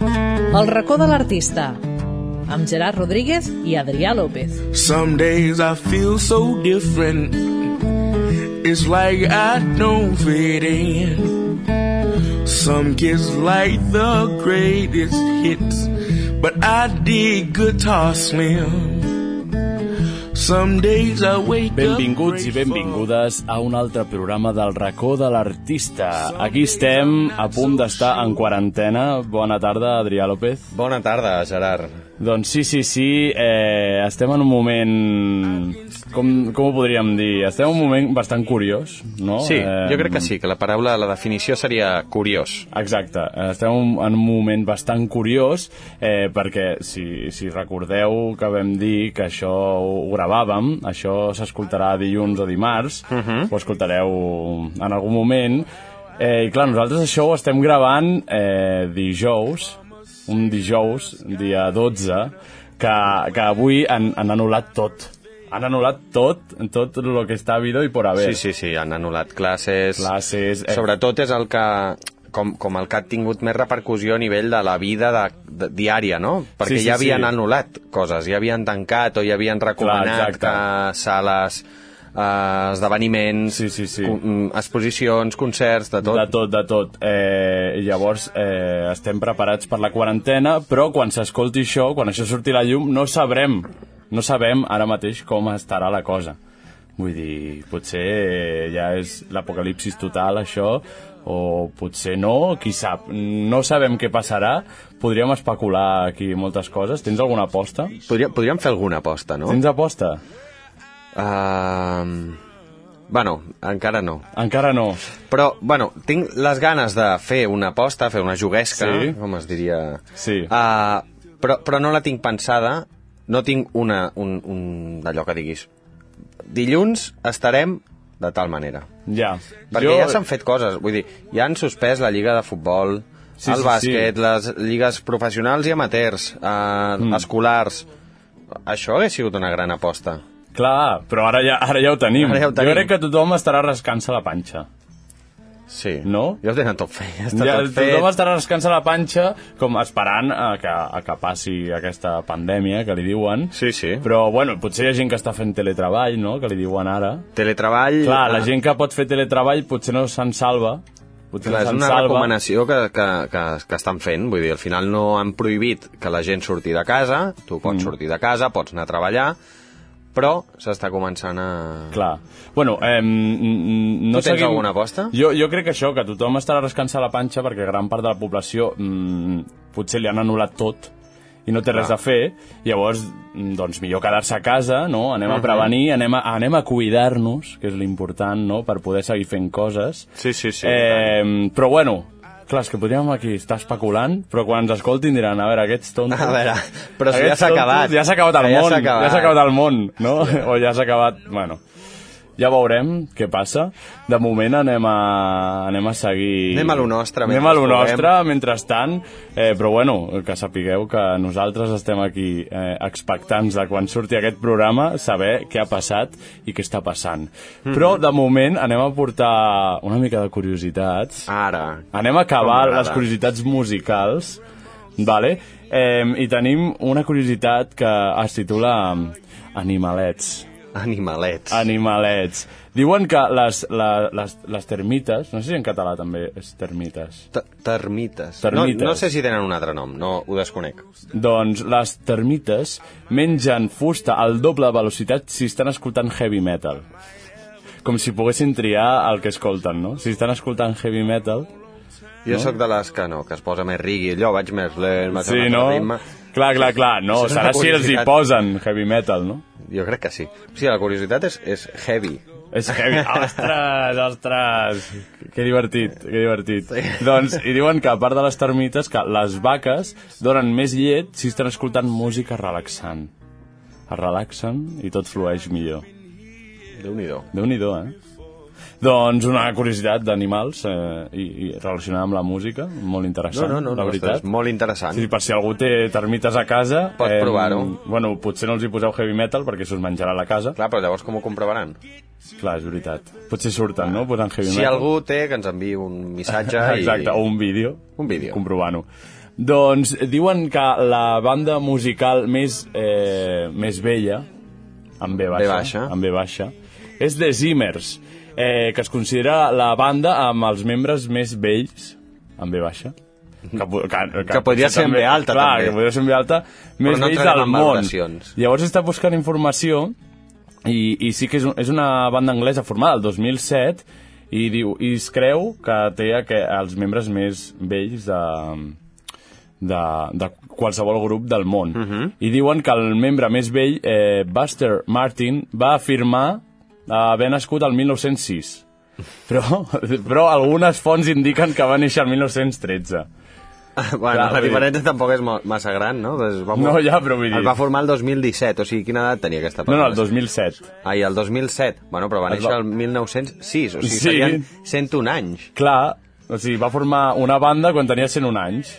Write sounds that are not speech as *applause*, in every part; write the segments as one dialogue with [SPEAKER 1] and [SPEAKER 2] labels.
[SPEAKER 1] El racó de l'artista amb Gerard Rodríguez i Adrià López.
[SPEAKER 2] Some days I feel so different. It's like I don't fit in. Some kids like the greatest hits, but I dig guitar slim. Some days I wake
[SPEAKER 3] Benvinguts i
[SPEAKER 2] up. grateful.
[SPEAKER 3] benvingudes a un altre programa del racó de l'artista. Aquí estem, a punt d'estar en quarantena. Bona tarda, Adrià López.
[SPEAKER 4] Bona tarda, Gerard.
[SPEAKER 3] Doncs sí, sí, sí, eh, estem en un moment... Com, com ho podríem dir? Estem en un moment bastant curiós, no?
[SPEAKER 4] Sí,
[SPEAKER 3] Eh,
[SPEAKER 4] jo crec que sí, que la paraula, la definició seria curiós.
[SPEAKER 3] Exacte, estem en- en un moment bastant curiós eh, perquè si, si recordeu que vam dir que això ho gravàvem, això s'escoltarà dilluns o dimarts, uh
[SPEAKER 4] Mhm.
[SPEAKER 3] -huh. ho escoltareu en algun moment, eh, i clar, nosaltres això ho estem gravant eh, dijous, un dijous, dia 12, que, que avui han, han anul·lat tot. Han anul·lat tot, tot el que està habido i por haver
[SPEAKER 4] Sí, sí, sí, han anul·lat classes...
[SPEAKER 3] Classes, eh.
[SPEAKER 4] Sobretot és el que com, com el que ha tingut més repercussió a nivell de la vida de, de, diària, no? Perquè
[SPEAKER 3] Sí, sí,
[SPEAKER 4] ja havien
[SPEAKER 3] sí.
[SPEAKER 4] anul·lat coses, ja havien tancat o ja havien recomanat
[SPEAKER 3] exacte.
[SPEAKER 4] que sales, eh, esdeveniments,
[SPEAKER 3] Sí, sí, sí.
[SPEAKER 4] co- mm, exposicions, concerts, de tot.
[SPEAKER 3] De tot, de tot. Eh, llavors, eh, estem preparats per la quarantena, però quan s'escolti això, quan això surti a la llum, no sabrem, no sabem ara mateix com estarà la cosa. Vull dir, potser eh, ja és l'apocalipsis total, això, o potser no, qui sap. No sabem què passarà, podríem especular aquí moltes coses. Tens alguna aposta?
[SPEAKER 4] Podríem, podríem fer alguna aposta, no?
[SPEAKER 3] Tens aposta?
[SPEAKER 4] Uh, bueno, encara no.
[SPEAKER 3] Encara no.
[SPEAKER 4] Però, bueno, tinc les ganes de fer una aposta, fer una juguesca,
[SPEAKER 3] Sí.
[SPEAKER 4] com es diria...
[SPEAKER 3] Sí.
[SPEAKER 4] Uh, però, però no la tinc pensada, no tinc una, un, un d'allò que diguis. Dilluns estarem de tal manera.
[SPEAKER 3] Ja.
[SPEAKER 4] Perquè ja s'han fet coses, vull dir, ja han suspès la lliga de futbol,
[SPEAKER 3] Sí,
[SPEAKER 4] sí, el
[SPEAKER 3] sí,
[SPEAKER 4] bàsquet, sí. les lligues professionals i amateurs, uh, mm. escolars... Això hauria sigut una gran aposta.
[SPEAKER 3] Clar, però ara ja, ara ja ho tenim.
[SPEAKER 4] Ara ja ho
[SPEAKER 3] Jo
[SPEAKER 4] tenim.
[SPEAKER 3] crec que tothom estarà rascant-se la panxa.
[SPEAKER 4] Sí.
[SPEAKER 3] No?
[SPEAKER 4] Ja ho tenen tot fet. Ja està
[SPEAKER 3] Ja,
[SPEAKER 4] tot fet.
[SPEAKER 3] tothom estarà rascant-se la panxa com esperant a que, a que passi aquesta pandèmia que li diuen.
[SPEAKER 4] Sí, sí.
[SPEAKER 3] Però, bueno, potser hi ha gent que està fent teletreball, no?, que li diuen ara.
[SPEAKER 4] Teletreball...
[SPEAKER 3] Clar, la
[SPEAKER 4] ah,
[SPEAKER 3] gent que pot fer teletreball potser no se'n salva. Potser no
[SPEAKER 4] Clar, és
[SPEAKER 3] se'n
[SPEAKER 4] una
[SPEAKER 3] salva.
[SPEAKER 4] recomanació que, que, que, que estan fent, vull dir, al final no han prohibit que la gent surti de casa, tu pots mm. sortir de casa, pots anar a treballar, però s'està començant a...
[SPEAKER 3] Clar. Bueno, eh, no
[SPEAKER 4] Tu tens alguna aposta?
[SPEAKER 3] Jo, jo crec que això, que tothom estarà rascant-se la panxa perquè gran part de la població mm, potser li han anul·lat tot i no té res
[SPEAKER 4] Clar.
[SPEAKER 3] a fer, llavors, mm, doncs millor quedar-se a casa, no? Anem a prevenir, anem a, anem a cuidar-nos, que és l'important, no?, per poder seguir fent coses.
[SPEAKER 4] Sí, sí, sí.
[SPEAKER 3] Eh, però bueno, clar, és que podríem aquí estar especulant, però quan ens escoltin diran, a veure, aquests tontos...
[SPEAKER 4] A veure, però si ja
[SPEAKER 3] Aquests
[SPEAKER 4] s'ha
[SPEAKER 3] tontos,
[SPEAKER 4] acabat.
[SPEAKER 3] Ja s'ha acabat el
[SPEAKER 4] Que ja
[SPEAKER 3] món,
[SPEAKER 4] s'ha acabat.
[SPEAKER 3] ja s'ha acabat el món, no? O ja s'ha acabat... Bueno, ja veurem què passa. De moment anem a, anem a seguir...
[SPEAKER 4] Anem a lo nostre
[SPEAKER 3] Anem
[SPEAKER 4] mentre
[SPEAKER 3] a lo
[SPEAKER 4] ens trobem.
[SPEAKER 3] nostre, mentrestant. Eh, però bueno, que sapigueu que nosaltres estem aquí eh, expectants de quan surti aquest programa saber què ha passat i què està passant.
[SPEAKER 4] Mhm.
[SPEAKER 3] Però de moment anem a portar una mica de curiositats.
[SPEAKER 4] Ara.
[SPEAKER 3] Anem a acabar
[SPEAKER 4] Ah, Com m'agrada.
[SPEAKER 3] les curiositats musicals, vale? Eh, I tenim una curiositat que es titula mm, Animalets.
[SPEAKER 4] Animalets.
[SPEAKER 3] Animalets. Diuen que les, la, les, les termites, no sé si en català també és termites,
[SPEAKER 4] T- Termites.
[SPEAKER 3] Termites.
[SPEAKER 4] No, no sé si tenen un altre nom, no ho desconec.
[SPEAKER 3] doncs les termites mengen fusta al doble velocitat si estan escoltant heavy metal. Com si poguessin triar el que escolten, no? Si estan escoltant heavy metal,
[SPEAKER 4] Jo no? sóc de les que no, que es posa més rigui, allò vaig més lent, vaig
[SPEAKER 3] Sí,
[SPEAKER 4] amb
[SPEAKER 3] no?
[SPEAKER 4] el ritme.
[SPEAKER 3] Clar, clar, clar, no,
[SPEAKER 4] Això és
[SPEAKER 3] serà
[SPEAKER 4] una
[SPEAKER 3] si els hi
[SPEAKER 4] curiositat.
[SPEAKER 3] posen heavy metal, no?
[SPEAKER 4] Jo crec que sí. O sigui, la curiositat és, és heavy.
[SPEAKER 3] És heavy. Ostres, ostres. Que divertit, que divertit. Sí. Doncs, i diuen que a part de les termites, que les vaques donen més llet si estan escoltant música relaxant. Es relaxen i tot flueix millor.
[SPEAKER 4] Déu-n'hi-do.
[SPEAKER 3] Déu-n'hi-do, eh? Doncs una curiositat d'animals eh, i, i relacionada amb la música, molt
[SPEAKER 4] No,
[SPEAKER 3] interessant,
[SPEAKER 4] no, no,
[SPEAKER 3] la
[SPEAKER 4] no
[SPEAKER 3] veritat.
[SPEAKER 4] ostres, molt interessant.
[SPEAKER 3] Sí, per si algú té termites a casa...
[SPEAKER 4] Pot provar-ho.
[SPEAKER 3] Bueno, potser no els hi poseu heavy metal perquè se'ls menjarà a la casa.
[SPEAKER 4] Clar, però llavors com ho comprovaran?
[SPEAKER 3] Clar, és veritat. Potser surten, no?, posant heavy
[SPEAKER 4] Si
[SPEAKER 3] metal. *laughs*
[SPEAKER 4] algú té, que ens enviï un missatge
[SPEAKER 3] Exacte,
[SPEAKER 4] i...
[SPEAKER 3] o un vídeo.
[SPEAKER 4] Un vídeo.
[SPEAKER 3] Comprovant-ho. Doncs diuen que la banda musical més, eh, més vella, amb B baixa,
[SPEAKER 4] B baixa.
[SPEAKER 3] amb B baixa és The Zimmers, eh, que es considera la banda amb els membres més vells, amb B baixa, que, po- que, que,
[SPEAKER 4] Mm-hmm. Que podria ser en B alta,
[SPEAKER 3] clar,
[SPEAKER 4] també.
[SPEAKER 3] que podria ser en B alta, més
[SPEAKER 4] no
[SPEAKER 3] vells del
[SPEAKER 4] entrarem en
[SPEAKER 3] món.
[SPEAKER 4] valoracions.
[SPEAKER 3] Llavors està buscant informació i, i sí que és, un, és una banda anglesa formada el 2007 i, diu, i es creu que té que els membres més vells de, de, de qualsevol grup del món. I diuen que el membre més vell, eh, Buster Martin, va afirmar haver nascut el 1906. Però, però algunes fonts indiquen que va néixer el 1913.
[SPEAKER 4] *laughs* Bueno,
[SPEAKER 3] Clar,
[SPEAKER 4] la
[SPEAKER 3] vull dir-
[SPEAKER 4] diferència tampoc és mo- massa gran, no? Es va,
[SPEAKER 3] No, ja, però vull dir-
[SPEAKER 4] Es va formar el 2017, o sigui, quina edat tenia aquesta
[SPEAKER 3] No,
[SPEAKER 4] persona?
[SPEAKER 3] no, el 2007.
[SPEAKER 4] Ai, el 2007. Bueno, però va
[SPEAKER 3] Es va-
[SPEAKER 4] néixer el 1906, o sigui,
[SPEAKER 3] Sí.
[SPEAKER 4] serien 101 anys.
[SPEAKER 3] Clar, o sigui, va formar una banda quan tenia 101 anys.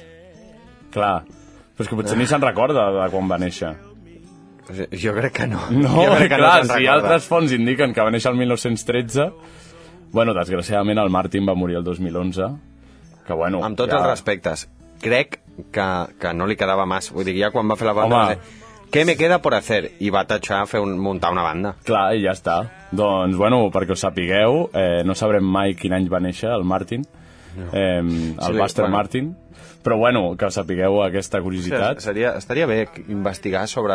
[SPEAKER 3] Clar. Però és que potser ni se'n recorda de quan va néixer.
[SPEAKER 4] O sigui, Jo crec que no.
[SPEAKER 3] No,
[SPEAKER 4] jo crec que
[SPEAKER 3] clar,
[SPEAKER 4] no se'n
[SPEAKER 3] si
[SPEAKER 4] recorda.
[SPEAKER 3] altres fonts indiquen que va néixer el 1913... Bueno, desgraciadament el Martin va morir el 2011, que bueno...
[SPEAKER 4] Amb tots els respectes, crec que, que no li quedava massa. Vull dir, ja quan va fer la banda...
[SPEAKER 3] Home.
[SPEAKER 4] va dir, Què me queda por hacer? I va tatxar a fer un, muntar una banda.
[SPEAKER 3] Clar, i ja està. Doncs, bueno, perquè ho sapigueu, eh, no sabrem mai quin any va néixer el Martin, eh, el
[SPEAKER 4] Sí,
[SPEAKER 3] Buster
[SPEAKER 4] bueno.
[SPEAKER 3] Martin, però bueno, que sapigueu aquesta curiositat.
[SPEAKER 4] Seria, estaria bé investigar sobre...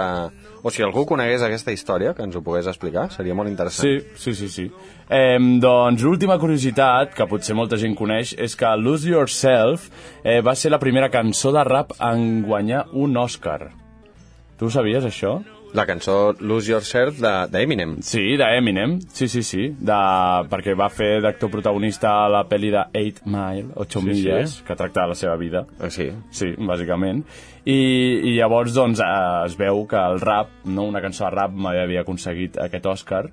[SPEAKER 4] O si algú conegués aquesta història, que ens ho pogués explicar, seria molt interessant.
[SPEAKER 3] Sí, sí, sí, sí. Eh, doncs l'última curiositat, que potser molta gent coneix, és que Lose Yourself eh, va ser la primera cançó de rap en guanyar un Oscar. Tu ho sabies, això?
[SPEAKER 4] La cançó Lose Yourself de- d'Eminem. De,
[SPEAKER 3] Sí, d'Eminem, sí, sí, sí, de... perquè va fer d'actor protagonista a la pel·li de 8 Mile, 8 sí,
[SPEAKER 4] Sí,
[SPEAKER 3] milles,
[SPEAKER 4] sí.
[SPEAKER 3] que tracta de la seva vida.
[SPEAKER 4] sí.
[SPEAKER 3] Eh, Sí, bàsicament. I, i llavors doncs, eh, es veu que el rap, no una cançó de rap, havia aconseguit aquest Òscar.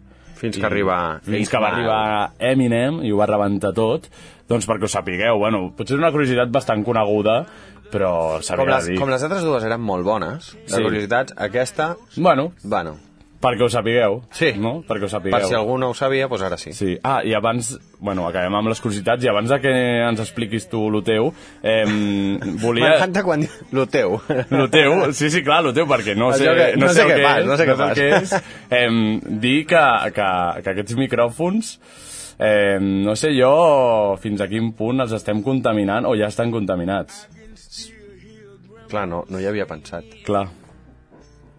[SPEAKER 4] Fins
[SPEAKER 3] I-
[SPEAKER 4] que arriba
[SPEAKER 3] Fins
[SPEAKER 4] Eight
[SPEAKER 3] que va
[SPEAKER 4] Mile.
[SPEAKER 3] arribar Eminem i ho va rebentar tot. Doncs perquè ho sapigueu, bueno, potser és una curiositat bastant coneguda, però
[SPEAKER 4] Com
[SPEAKER 3] s'havia de
[SPEAKER 4] les,
[SPEAKER 3] dir.
[SPEAKER 4] com les altres dues eren molt bones, les
[SPEAKER 3] Sí.
[SPEAKER 4] curiositats, aquesta...
[SPEAKER 3] Bueno,
[SPEAKER 4] Bueno,
[SPEAKER 3] perquè ho sapigueu.
[SPEAKER 4] Sí.
[SPEAKER 3] No? Perquè ho sapigueu.
[SPEAKER 4] per si algú no ho sabia, doncs ara sí.
[SPEAKER 3] Sí. Ah, i abans... Bueno, acabem amb les curiositats i abans de que ens expliquis tu lo teu, eh, volia...
[SPEAKER 4] M'encanta quan... diu Lo teu.
[SPEAKER 3] *laughs* Lo teu, sí, sí, clar, lo teu, perquè no sé,
[SPEAKER 4] Això que-
[SPEAKER 3] no
[SPEAKER 4] no
[SPEAKER 3] sé,
[SPEAKER 4] sé què
[SPEAKER 3] què
[SPEAKER 4] fas,
[SPEAKER 3] és,
[SPEAKER 4] no sé què
[SPEAKER 3] el
[SPEAKER 4] fas.
[SPEAKER 3] que és. Em, dir que, que, que aquests micròfons, eh, no sé jo fins a quin punt els estem contaminant o ja estan contaminats.
[SPEAKER 4] Clar, no, no hi havia pensat.
[SPEAKER 3] Clar.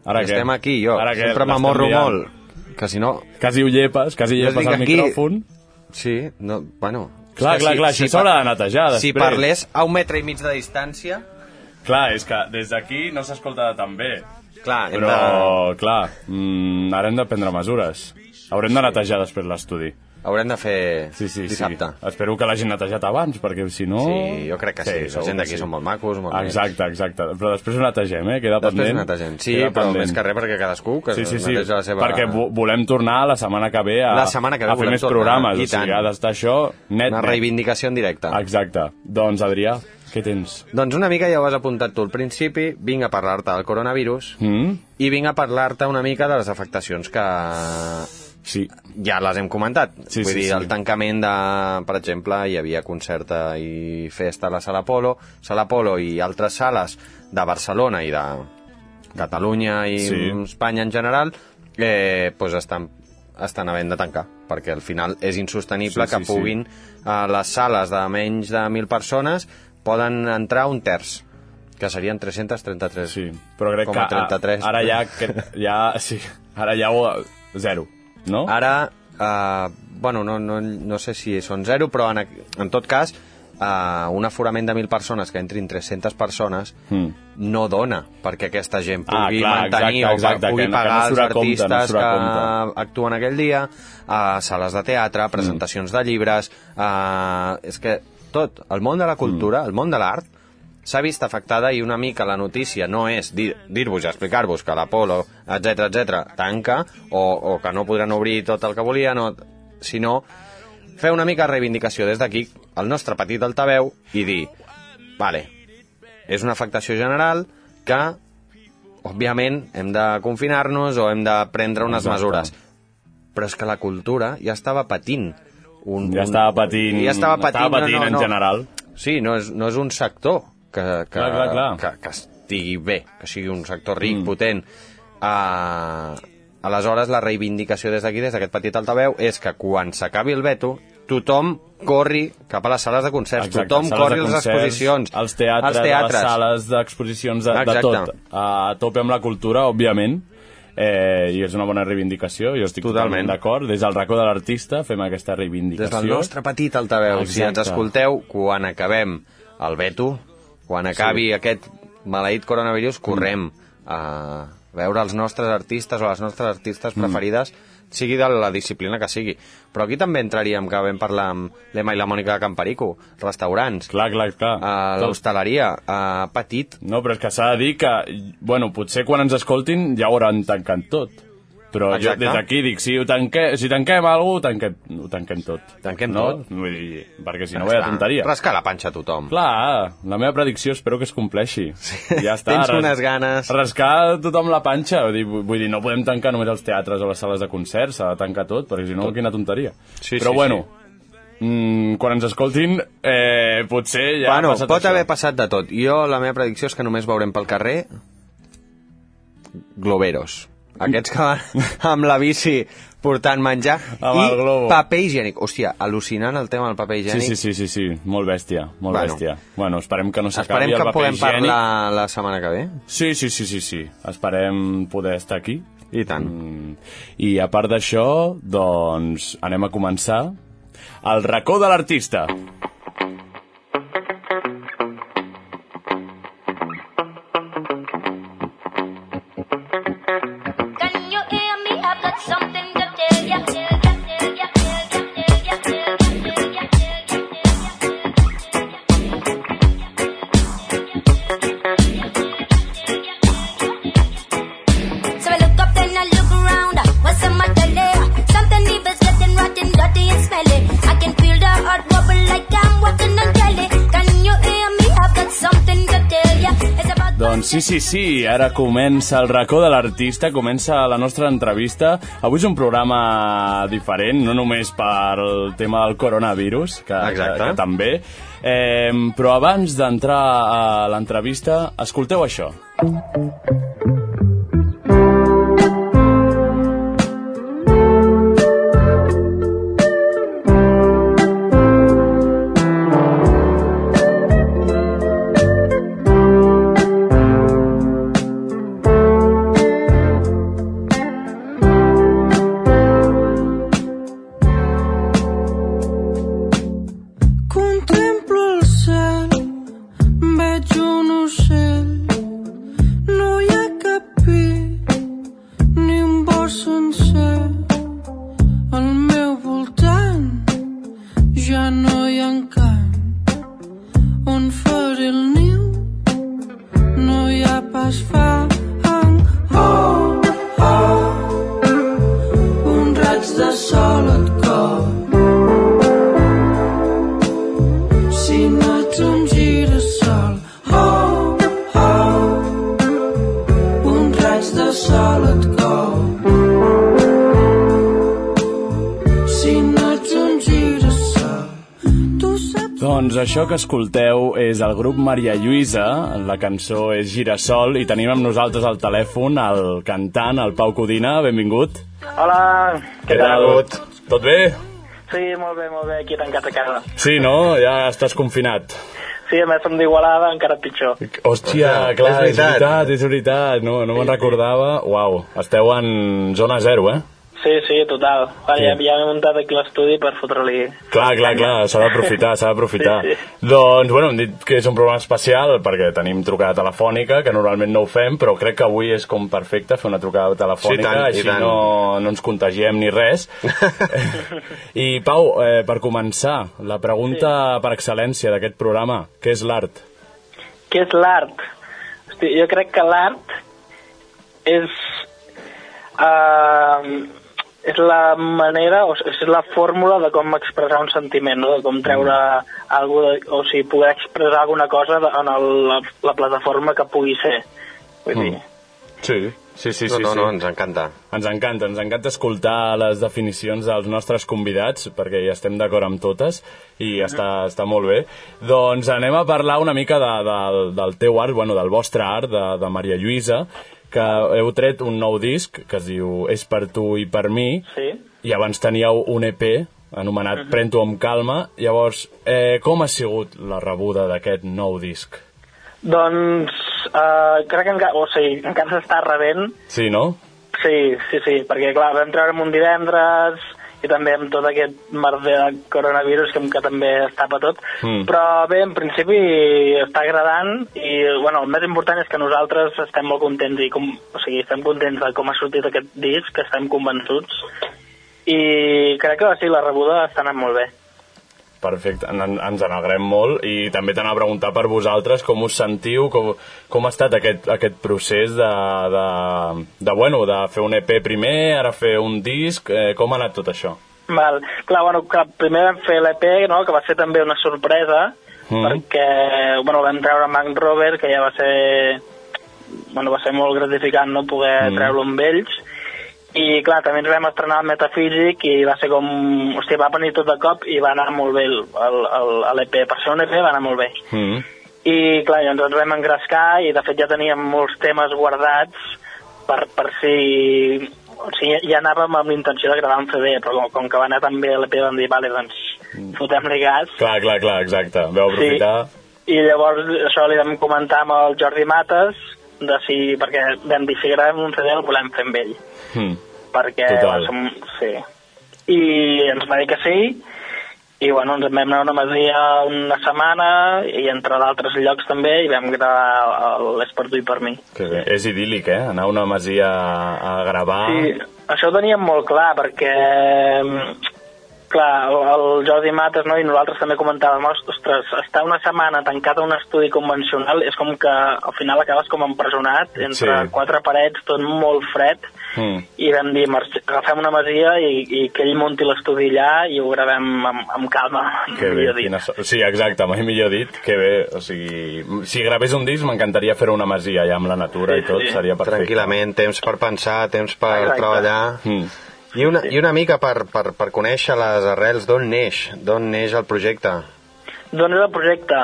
[SPEAKER 3] Ara
[SPEAKER 4] Estem aquí, jo.
[SPEAKER 3] Ara què?
[SPEAKER 4] Sempre
[SPEAKER 3] L'estem
[SPEAKER 4] m'amorro
[SPEAKER 3] liant.
[SPEAKER 4] molt. Que si no...
[SPEAKER 3] Quasi ho llepes, quasi
[SPEAKER 4] Jo
[SPEAKER 3] llepes
[SPEAKER 4] dic
[SPEAKER 3] el
[SPEAKER 4] aquí-
[SPEAKER 3] micròfon.
[SPEAKER 4] Sí, no, bueno...
[SPEAKER 3] Clar,
[SPEAKER 4] és que
[SPEAKER 3] clar, clar, això s'haurà de netejar
[SPEAKER 4] Si
[SPEAKER 3] després.
[SPEAKER 4] parlés a un metre i mig de distància...
[SPEAKER 3] Clar, és que des d'aquí no s'escolta tan bé.
[SPEAKER 4] Clar, hem
[SPEAKER 3] Però, clar, mm, ara hem de prendre mesures. Haurem de netejar després l'estudi.
[SPEAKER 4] de... Haurem de fer
[SPEAKER 3] Sí, sí,
[SPEAKER 4] dissabte.
[SPEAKER 3] sí. Espero que l'hagin netejat abans, perquè si no...
[SPEAKER 4] Sí, jo crec que sí. La
[SPEAKER 3] segur
[SPEAKER 4] gent
[SPEAKER 3] que
[SPEAKER 4] d'aquí són molt macos, molt nets.
[SPEAKER 3] Exacte, exacte. Però després ho netegem, eh? Queda
[SPEAKER 4] Després
[SPEAKER 3] pendent.
[SPEAKER 4] netegem. Sí,
[SPEAKER 3] Queda
[SPEAKER 4] però
[SPEAKER 3] pendent.
[SPEAKER 4] més que res perquè cadascú que
[SPEAKER 3] Sí, sí, sí,
[SPEAKER 4] neteja la seva...
[SPEAKER 3] perquè vo- volem tornar la setmana que ve a,
[SPEAKER 4] La setmana que ve
[SPEAKER 3] a fer
[SPEAKER 4] volem
[SPEAKER 3] més
[SPEAKER 4] tornar,
[SPEAKER 3] programes.
[SPEAKER 4] i
[SPEAKER 3] o sigui,
[SPEAKER 4] tant.
[SPEAKER 3] ha d'estar això net.
[SPEAKER 4] Una
[SPEAKER 3] net.
[SPEAKER 4] reivindicació en directe.
[SPEAKER 3] Exacte. Doncs, Adrià, què tens?
[SPEAKER 4] Doncs una mica ja ho has apuntat tu al principi, vinc a parlar-te del coronavirus
[SPEAKER 3] Mm?
[SPEAKER 4] i vinc a parlar-te una mica de les afectacions que
[SPEAKER 3] Sí.
[SPEAKER 4] ja les hem comentat.
[SPEAKER 3] Sí,
[SPEAKER 4] Vull
[SPEAKER 3] sí,
[SPEAKER 4] dir,
[SPEAKER 3] sí.
[SPEAKER 4] el tancament de, per exemple, hi havia concerta i festa a la Sala Polo, Sala Polo i altres sales de Barcelona i de Catalunya i
[SPEAKER 3] Sí.
[SPEAKER 4] Espanya en general, eh, doncs estan, estan havent de tancar, perquè al final és insostenible
[SPEAKER 3] Sí, sí,
[SPEAKER 4] que
[SPEAKER 3] sí.
[SPEAKER 4] puguin a les sales de menys de 1.000 persones poden entrar un terç, que serien 333.
[SPEAKER 3] Sí, però crec
[SPEAKER 4] com
[SPEAKER 3] que
[SPEAKER 4] a 33.
[SPEAKER 3] a, ara ja, que, ja, sí, ara ja ho, zero, no?
[SPEAKER 4] Ara, eh, bueno, no, no, no sé si són zero, però en, ac- en tot cas, eh, un aforament de 1.000 persones que entrin 300 persones
[SPEAKER 3] Mm.
[SPEAKER 4] no dona perquè aquesta gent
[SPEAKER 3] Ah,
[SPEAKER 4] pugui
[SPEAKER 3] clar,
[SPEAKER 4] mantenir
[SPEAKER 3] exacte,
[SPEAKER 4] o pa-
[SPEAKER 3] exacte,
[SPEAKER 4] pugui
[SPEAKER 3] que no- que
[SPEAKER 4] pagar
[SPEAKER 3] no surt
[SPEAKER 4] els
[SPEAKER 3] a compte, no
[SPEAKER 4] artistes
[SPEAKER 3] surt a
[SPEAKER 4] que actuen aquell dia, a sales de teatre, presentacions de llibres... A, és que tot, el món de la
[SPEAKER 3] Mm.
[SPEAKER 4] cultura, el món de l'art, s'ha vist afectada i una mica la notícia no és dir- dir-vos i explicar-vos que l'Apolo, etc etc tanca o, o que no podran obrir tot el que volien, o, sinó fer una mica de reivindicació des d'aquí al nostre petit altaveu i dir, vale, és una afectació general que, òbviament, hem de confinar-nos o hem de prendre unes
[SPEAKER 3] Exacte.
[SPEAKER 4] mesures. Però és que la cultura ja estava patint. Un,
[SPEAKER 3] Ja
[SPEAKER 4] un-
[SPEAKER 3] estava patint,
[SPEAKER 4] Ja estava patint,
[SPEAKER 3] estava patint
[SPEAKER 4] no, no,
[SPEAKER 3] en
[SPEAKER 4] no.
[SPEAKER 3] general.
[SPEAKER 4] Sí, no és, no és un sector que, que,
[SPEAKER 3] Clar, clar, clar.
[SPEAKER 4] que, que estigui bé, que sigui un sector ric, mm. potent. Uh, aleshores, la reivindicació des d'aquí, des d'aquest petit altaveu, és que quan s'acabi el veto, tothom corri cap a les sales de concerts,
[SPEAKER 3] Exacte,
[SPEAKER 4] tothom
[SPEAKER 3] sales
[SPEAKER 4] corri
[SPEAKER 3] de
[SPEAKER 4] a les
[SPEAKER 3] concerts,
[SPEAKER 4] exposicions,
[SPEAKER 3] als teatres,
[SPEAKER 4] als
[SPEAKER 3] teatres. a les
[SPEAKER 4] teatres.
[SPEAKER 3] sales d'exposicions, de, de
[SPEAKER 4] Exacte.
[SPEAKER 3] tot. A tope amb la cultura, òbviament, eh, i és una bona reivindicació, jo estic
[SPEAKER 4] Totalment.
[SPEAKER 3] totalment, d'acord. Des del racó de l'artista fem aquesta reivindicació.
[SPEAKER 4] Des del nostre petit altaveu, si ens
[SPEAKER 3] Exacte.
[SPEAKER 4] escolteu, quan acabem el veto, quan acabi sí. aquest maleït coronavirus,
[SPEAKER 3] Mm.
[SPEAKER 4] correm a veure els nostres artistes o les nostres
[SPEAKER 3] Mm.
[SPEAKER 4] artistes preferides, sigui de la disciplina que sigui. Però aquí també entraríem, que vam parlar amb l'Emma i la Mònica de Camperico, restaurants,
[SPEAKER 3] Clar, clar, clar.
[SPEAKER 4] a
[SPEAKER 3] Tot.
[SPEAKER 4] l'hostaleria, a petit...
[SPEAKER 3] No, però és que s'ha de dir que, bueno, potser quan ens escoltin ja ho hauran tancat tot. Però
[SPEAKER 4] Exacte.
[SPEAKER 3] jo des d'aquí dic, si, ho tanque, si tanquem alguna cosa, tanquem, ho tanquem tot.
[SPEAKER 4] Tanquem
[SPEAKER 3] no?
[SPEAKER 4] tot.
[SPEAKER 3] Vull dir, perquè si no, veia tonteria.
[SPEAKER 4] Rascar la panxa a tothom.
[SPEAKER 3] Clar, la meva predicció espero que es compleixi. Sí. Ja està.
[SPEAKER 4] Tens
[SPEAKER 3] res-
[SPEAKER 4] unes ganes.
[SPEAKER 3] Rascar tothom la panxa. Vull dir, vull dir, no podem tancar només els teatres o les sales de concerts, s'ha de tancar tot, perquè si no, tot. quina tonteria.
[SPEAKER 4] Sí,
[SPEAKER 3] Però
[SPEAKER 4] sí,
[SPEAKER 3] bueno, Mm, quan ens escoltin, eh, potser ja
[SPEAKER 4] bueno,
[SPEAKER 3] ha passat
[SPEAKER 4] pot
[SPEAKER 3] això.
[SPEAKER 4] haver passat de tot. Jo, la meva predicció és que només veurem pel carrer globeros. Aquests que van *laughs* amb la bici portant menjar
[SPEAKER 3] Amb
[SPEAKER 4] i
[SPEAKER 3] el globo.
[SPEAKER 4] paper higiènic. Hòstia, al·lucinant el tema del paper
[SPEAKER 3] Sí,
[SPEAKER 4] higiènic.
[SPEAKER 3] sí, sí, sí, sí, molt bèstia, molt
[SPEAKER 4] Bueno.
[SPEAKER 3] bueno. bèstia. Bueno, esperem que no s'acabi
[SPEAKER 4] Esperem
[SPEAKER 3] el
[SPEAKER 4] que en
[SPEAKER 3] paper
[SPEAKER 4] puguem
[SPEAKER 3] higiènic.
[SPEAKER 4] parlar la setmana que ve.
[SPEAKER 3] Sí, sí, sí, sí, sí, esperem poder estar aquí.
[SPEAKER 4] I tant.
[SPEAKER 3] Mm, I a part d'això, doncs, anem a començar el racó de l'artista.
[SPEAKER 5] Can you hear me? I've got something to tell ya. Tell ya, tell ya, tell ya, tell ya, tell ya, tell ya, tell ya. So I look up and I look around. What's on my telly? Something evil's getting rotten, dirty and smelly. I can feel the heart bubble like I'm walking on jelly. Can you hear me? I've got something to tell ya. It's about
[SPEAKER 3] Doncs sí, sí, sí, ara comença el racó de l'artista, comença la nostra entrevista. Avui és un programa diferent, no només pel tema del coronavirus, que, que,
[SPEAKER 4] Exacte.
[SPEAKER 3] que també, eh, però abans d'entrar a l'entrevista, escolteu això.
[SPEAKER 6] Contemplo el cel, veig un ocell, no hi ha cap pi, ni un bosc sencer. Al meu voltant ja no hi ha camp, on faré el niu, no hi ha pas fang. Oh, oh, un raig de sol et cor. si no ets un girassol. Oh, oh, un raig de sol et cou. Si no ets un girassol, tu saps...
[SPEAKER 3] Doncs això que escolteu és el grup Maria Lluïsa, la cançó és Girasol, i tenim amb nosaltres al telèfon el cantant, el Pau Codina, benvingut.
[SPEAKER 7] Hola, què tal?
[SPEAKER 3] Tot bé?
[SPEAKER 7] Sí, molt bé, molt bé, aquí tancat a casa.
[SPEAKER 3] Sí, no? Ja estàs confinat.
[SPEAKER 7] Sí, a més som d'Igualada, encara pitjor.
[SPEAKER 3] Hòstia, clar, és veritat, és veritat, és veritat. no, no me'n recordava. Uau, esteu en zona zero, eh?
[SPEAKER 7] Sí, sí, total. Va,
[SPEAKER 3] Sí.
[SPEAKER 7] ja, ja m'he muntat aquí l'estudi per fotre-li...
[SPEAKER 3] Clar, clar, clar, s'ha d'aprofitar, s'ha d'aprofitar.
[SPEAKER 7] Sí,
[SPEAKER 3] Doncs, bueno, hem dit que és un programa especial perquè tenim trucada telefònica, que normalment no ho fem, però crec que avui és com perfecte fer una trucada telefònica,
[SPEAKER 4] Sí, i tant, i
[SPEAKER 3] així
[SPEAKER 4] tant.
[SPEAKER 3] No, no ens contagiem ni
[SPEAKER 4] *laughs*
[SPEAKER 3] res. I, Pau, eh, per començar, la pregunta sí. per excel·lència d'aquest programa, què és l'art?
[SPEAKER 7] Què és l'art? Hosti, Jo crec que l'art és... Uh, és la manera, o és la fórmula de com expressar un sentiment, no? de com treure mm. algú, de, o sigui, poder expressar alguna cosa de, en el, la, la plataforma que pugui ser. Vull dir,
[SPEAKER 3] Sí, sí, sí.
[SPEAKER 4] no,
[SPEAKER 3] sí,
[SPEAKER 4] no,
[SPEAKER 3] sí.
[SPEAKER 4] no, ens encanta.
[SPEAKER 3] Ens encanta, ens encanta escoltar les definicions dels nostres convidats, perquè hi estem d'acord amb totes, i està, està molt bé. Doncs anem a parlar una mica de, de, del teu art, bueno, del vostre art, de, de Maria Lluïsa, que heu tret un nou disc que es diu És per tu i per mi,
[SPEAKER 7] Sí.
[SPEAKER 3] i abans teníeu un EP anomenat uh -huh. Pren-t'ho amb calma. Llavors, eh, com ha sigut la rebuda d'aquest nou disc?
[SPEAKER 7] Doncs eh, crec que encara, o sigui, encara s'està rebent.
[SPEAKER 3] Sí, no?
[SPEAKER 7] Sí, sí, sí, perquè clar, vam treure'm un divendres i també amb tot aquest merder de coronavirus que, que també es tapa tot.
[SPEAKER 3] Mm.
[SPEAKER 7] Mm. Però bé, en principi està agradant i bueno, el més important és que nosaltres estem molt contents i com, o sigui, estem contents de com ha sortit aquest disc, que estem convençuts i crec que sí, la rebuda està anant molt bé.
[SPEAKER 3] Perfecte, en, en, ens n'alegrem molt i també t'anava a preguntar per vosaltres com us sentiu, com, com ha estat aquest, aquest procés de, de, de, bueno, de fer un EP primer, ara fer un disc, eh, com ha anat tot això?
[SPEAKER 7] Val. Clar, bueno, que primer vam fer l'EP, no?, que va ser també una sorpresa,
[SPEAKER 3] Mm.
[SPEAKER 7] mm. perquè, bueno, vam treure Mac Robert, que ja va ser... Bueno, va ser molt gratificant, no?, poder
[SPEAKER 3] Mm.
[SPEAKER 7] mm. treure-lo amb ells. I, clar, també ens vam estrenar al Metafísic i va ser com... Hòstia, va venir tot de cop i va anar molt bé el- el- el- l'EP. Per ser un EP va anar molt bé.
[SPEAKER 3] Mm.
[SPEAKER 7] I clar, llavors ens vam engrescar i de fet ja teníem molts temes guardats per, per si... O sigui, ja anàvem amb l'intenció de gravar un CD, però com, com que va anar tan bé l'EP vam dir, vale, doncs fotem-li gas.
[SPEAKER 3] Clar, clar, clar, exacte, veu
[SPEAKER 7] Sí.
[SPEAKER 3] aprofitar...
[SPEAKER 7] I llavors això li vam comentar amb el Jordi Mates, de si, perquè vam dir, si gravem un CD el volem fer amb ell
[SPEAKER 3] Sí. Mm.
[SPEAKER 7] perquè
[SPEAKER 3] Total.
[SPEAKER 7] va ser un- sí. i ens va dir que sí i bueno, ens en vam anar a una masia una setmana i entre d'altres llocs també i vam gravar el- l'Esport Tu i per mi
[SPEAKER 3] Que bé. És idíl·lic, eh? Anar a una masia a, a gravar...
[SPEAKER 7] sí, això ho teníem molt clar perquè mm, clar, el, el Jordi Mates no, i nosaltres també comentàvem ostres, estar una setmana tancat a un estudi convencional és com que al final acabes com empresonat entre
[SPEAKER 3] Sí.
[SPEAKER 7] sí. quatre parets, tot molt fred
[SPEAKER 3] Mm.
[SPEAKER 7] i vam dir, "Marx- agafem una masia i, i que ell munti l'estudi allà i ho gravem amb, amb calma.
[SPEAKER 3] Que bé,
[SPEAKER 7] millor dit.
[SPEAKER 3] quina so... Sí, exacte, mai millor dit, que bé, o sigui... Si gravés un disc m'encantaria fer una masia allà amb la natura
[SPEAKER 7] Sí,
[SPEAKER 3] i tot,
[SPEAKER 7] sí.
[SPEAKER 3] seria perfecte.
[SPEAKER 4] Tranquil·lament, temps per pensar, temps per
[SPEAKER 7] Exacte.
[SPEAKER 4] treballar...
[SPEAKER 3] Mm.
[SPEAKER 4] I una, I una mica per, per, per conèixer les arrels d'on neix, d'on neix el projecte.
[SPEAKER 7] D'on és el projecte?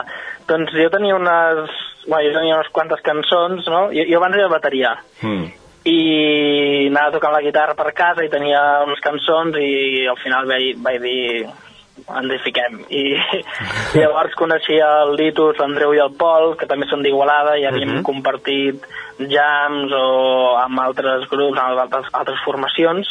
[SPEAKER 7] Doncs jo tenia unes... Bueno, jo tenia unes quantes cançons, no? Jo, jo abans era bateria
[SPEAKER 3] Mm.
[SPEAKER 7] i anava tocant la guitarra per casa i tenia unes cançons i al final vaig, vaig dir ens hi fiquem. I,
[SPEAKER 3] *laughs*
[SPEAKER 7] i llavors coneixia el Litus, l'Andreu i el Pol, que també són d'Igualada, i havíem
[SPEAKER 3] Mhm.
[SPEAKER 7] uh -huh. compartit jams o amb altres grups, amb altres, altres formacions,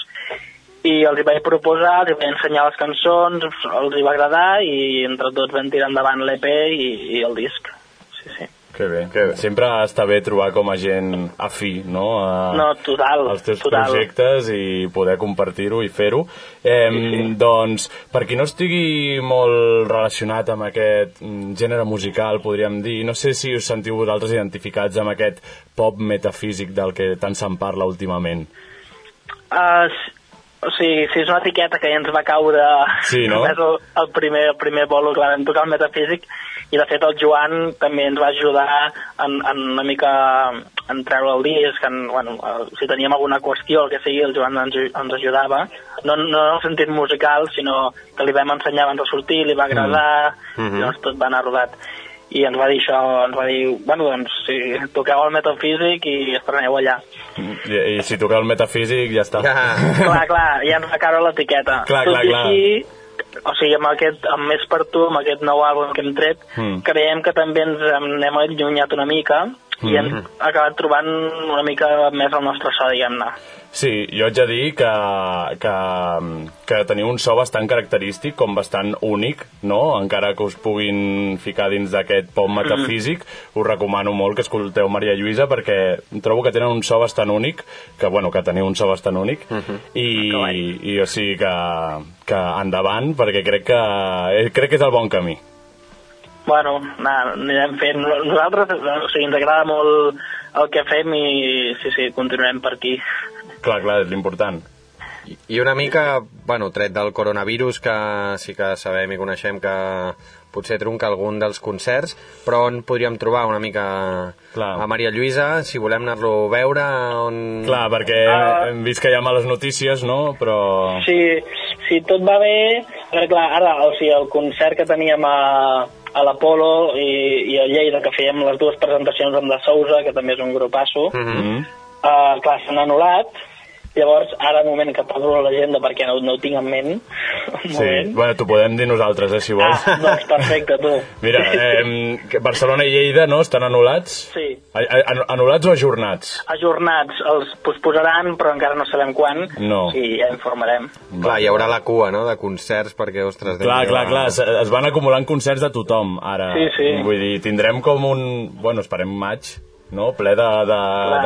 [SPEAKER 7] i els hi vaig proposar, els hi vaig ensenyar les cançons, els hi va agradar, i entre tots vam tirar endavant l'EP i, i el disc. Sí, sí.
[SPEAKER 3] Que bé, que bé. Sempre està bé trobar com a gent afí, no? A,
[SPEAKER 7] No, total,
[SPEAKER 3] als Ah. teus
[SPEAKER 7] total.
[SPEAKER 3] projectes i poder compartir-ho i fer-ho. Eh, Doncs, per qui no estigui molt relacionat amb aquest mm, gènere musical, podríem dir, no sé si us sentiu vosaltres identificats amb aquest pop metafísic del que tant se'n parla últimament.
[SPEAKER 7] Uh, o sigui, si és una etiqueta que ja ens va caure
[SPEAKER 3] Sí, no?
[SPEAKER 7] només el, el, primer, el primer bolo que vam tocar el metafísic i de fet el Joan també ens va ajudar en, en una mica en treure el disc en, bueno, eh, si teníem alguna qüestió el que sigui, el Joan ens, ens ajudava no, no en el sentit musical sinó que li vam ensenyar abans de sortir li va agradar, mm
[SPEAKER 3] Mm-hmm.
[SPEAKER 7] -hmm. llavors tot va anar rodat i ens va dir això, ens va dir bueno, doncs si toqueu el metafísic i estreneu allà
[SPEAKER 3] I, i si toqueu el metafísic ja està. *laughs*
[SPEAKER 7] clar, clar, ja ens va caure l'etiqueta.
[SPEAKER 3] Clar,
[SPEAKER 7] Tot
[SPEAKER 3] clar,
[SPEAKER 7] i
[SPEAKER 3] clar.
[SPEAKER 7] així, o sigui, amb, aquest, amb Més per tu, amb aquest nou àlbum que hem tret,
[SPEAKER 3] Mm.
[SPEAKER 7] mm. creiem que també ens n'hem allunyat una mica mm. i hem
[SPEAKER 3] Hmm.
[SPEAKER 7] acabat trobant una mica més el nostre so, diguem-ne.
[SPEAKER 3] Sí, jo haig de dir que, que, que teniu un so bastant característic, com bastant únic, no? Encara que us puguin ficar dins d'aquest pop metafísic, us recomano molt que escolteu Maria Lluïsa perquè trobo que tenen un so bastant únic, que, bueno, que teniu un so bastant únic, i, i, o sigui que, que endavant, perquè crec que, eh, crec que és el bon camí.
[SPEAKER 7] Bueno, anar, anirem fent. Nosaltres, o sigui, ens agrada molt el que fem i sí, sí, continuarem per aquí.
[SPEAKER 3] Clar, clar, és l'important.
[SPEAKER 4] I- I una mica, bueno, tret del coronavirus, que sí que sabem i coneixem que potser trunca algun dels concerts, però on podríem trobar una mica
[SPEAKER 3] Clar.
[SPEAKER 4] a Maria Lluïsa, si volem anar-lo a veure, on...
[SPEAKER 3] Clar, perquè
[SPEAKER 7] Ah.
[SPEAKER 3] hem vist que hi ha males notícies, no? Però...
[SPEAKER 7] Si, si tot va bé... Perquè, clar, ara, o sigui, el concert que teníem a, a l'Apolo i, i a Lleida, que fèiem les dues presentacions amb la Sousa, que també és un grupasso, mm
[SPEAKER 4] Mhm.
[SPEAKER 7] -hmm. uh, clar, s'han anul·lat, llavors, ara, de moment que parlo a l'agenda perquè no, no ho tinc en ment, *laughs* un
[SPEAKER 3] Sí,
[SPEAKER 7] moment...
[SPEAKER 3] bueno, t'ho podem dir nosaltres, eh, si vols.
[SPEAKER 7] Ah, doncs
[SPEAKER 4] *laughs*
[SPEAKER 7] perfecte, tu.
[SPEAKER 3] *laughs* Mira, eh, que Barcelona i Lleida, no?, estan anul·lats?
[SPEAKER 7] Sí.
[SPEAKER 3] A- a- anu- Anul·lats o ajornats?
[SPEAKER 7] Ajornats, els posposaran, però encara no sabem quan.
[SPEAKER 3] No.
[SPEAKER 7] Sí, ja informarem.
[SPEAKER 4] Clar, hi haurà la cua, no?, de concerts, perquè, ostres... eh.
[SPEAKER 3] Clar,
[SPEAKER 4] déu-n'hi-do,
[SPEAKER 3] clar,
[SPEAKER 4] la-
[SPEAKER 3] clar, es, es van acumulant concerts de tothom, ara.
[SPEAKER 7] Sí, sí.
[SPEAKER 3] Vull dir, tindrem com un... Bueno, esperem maig, no?, ple de, de,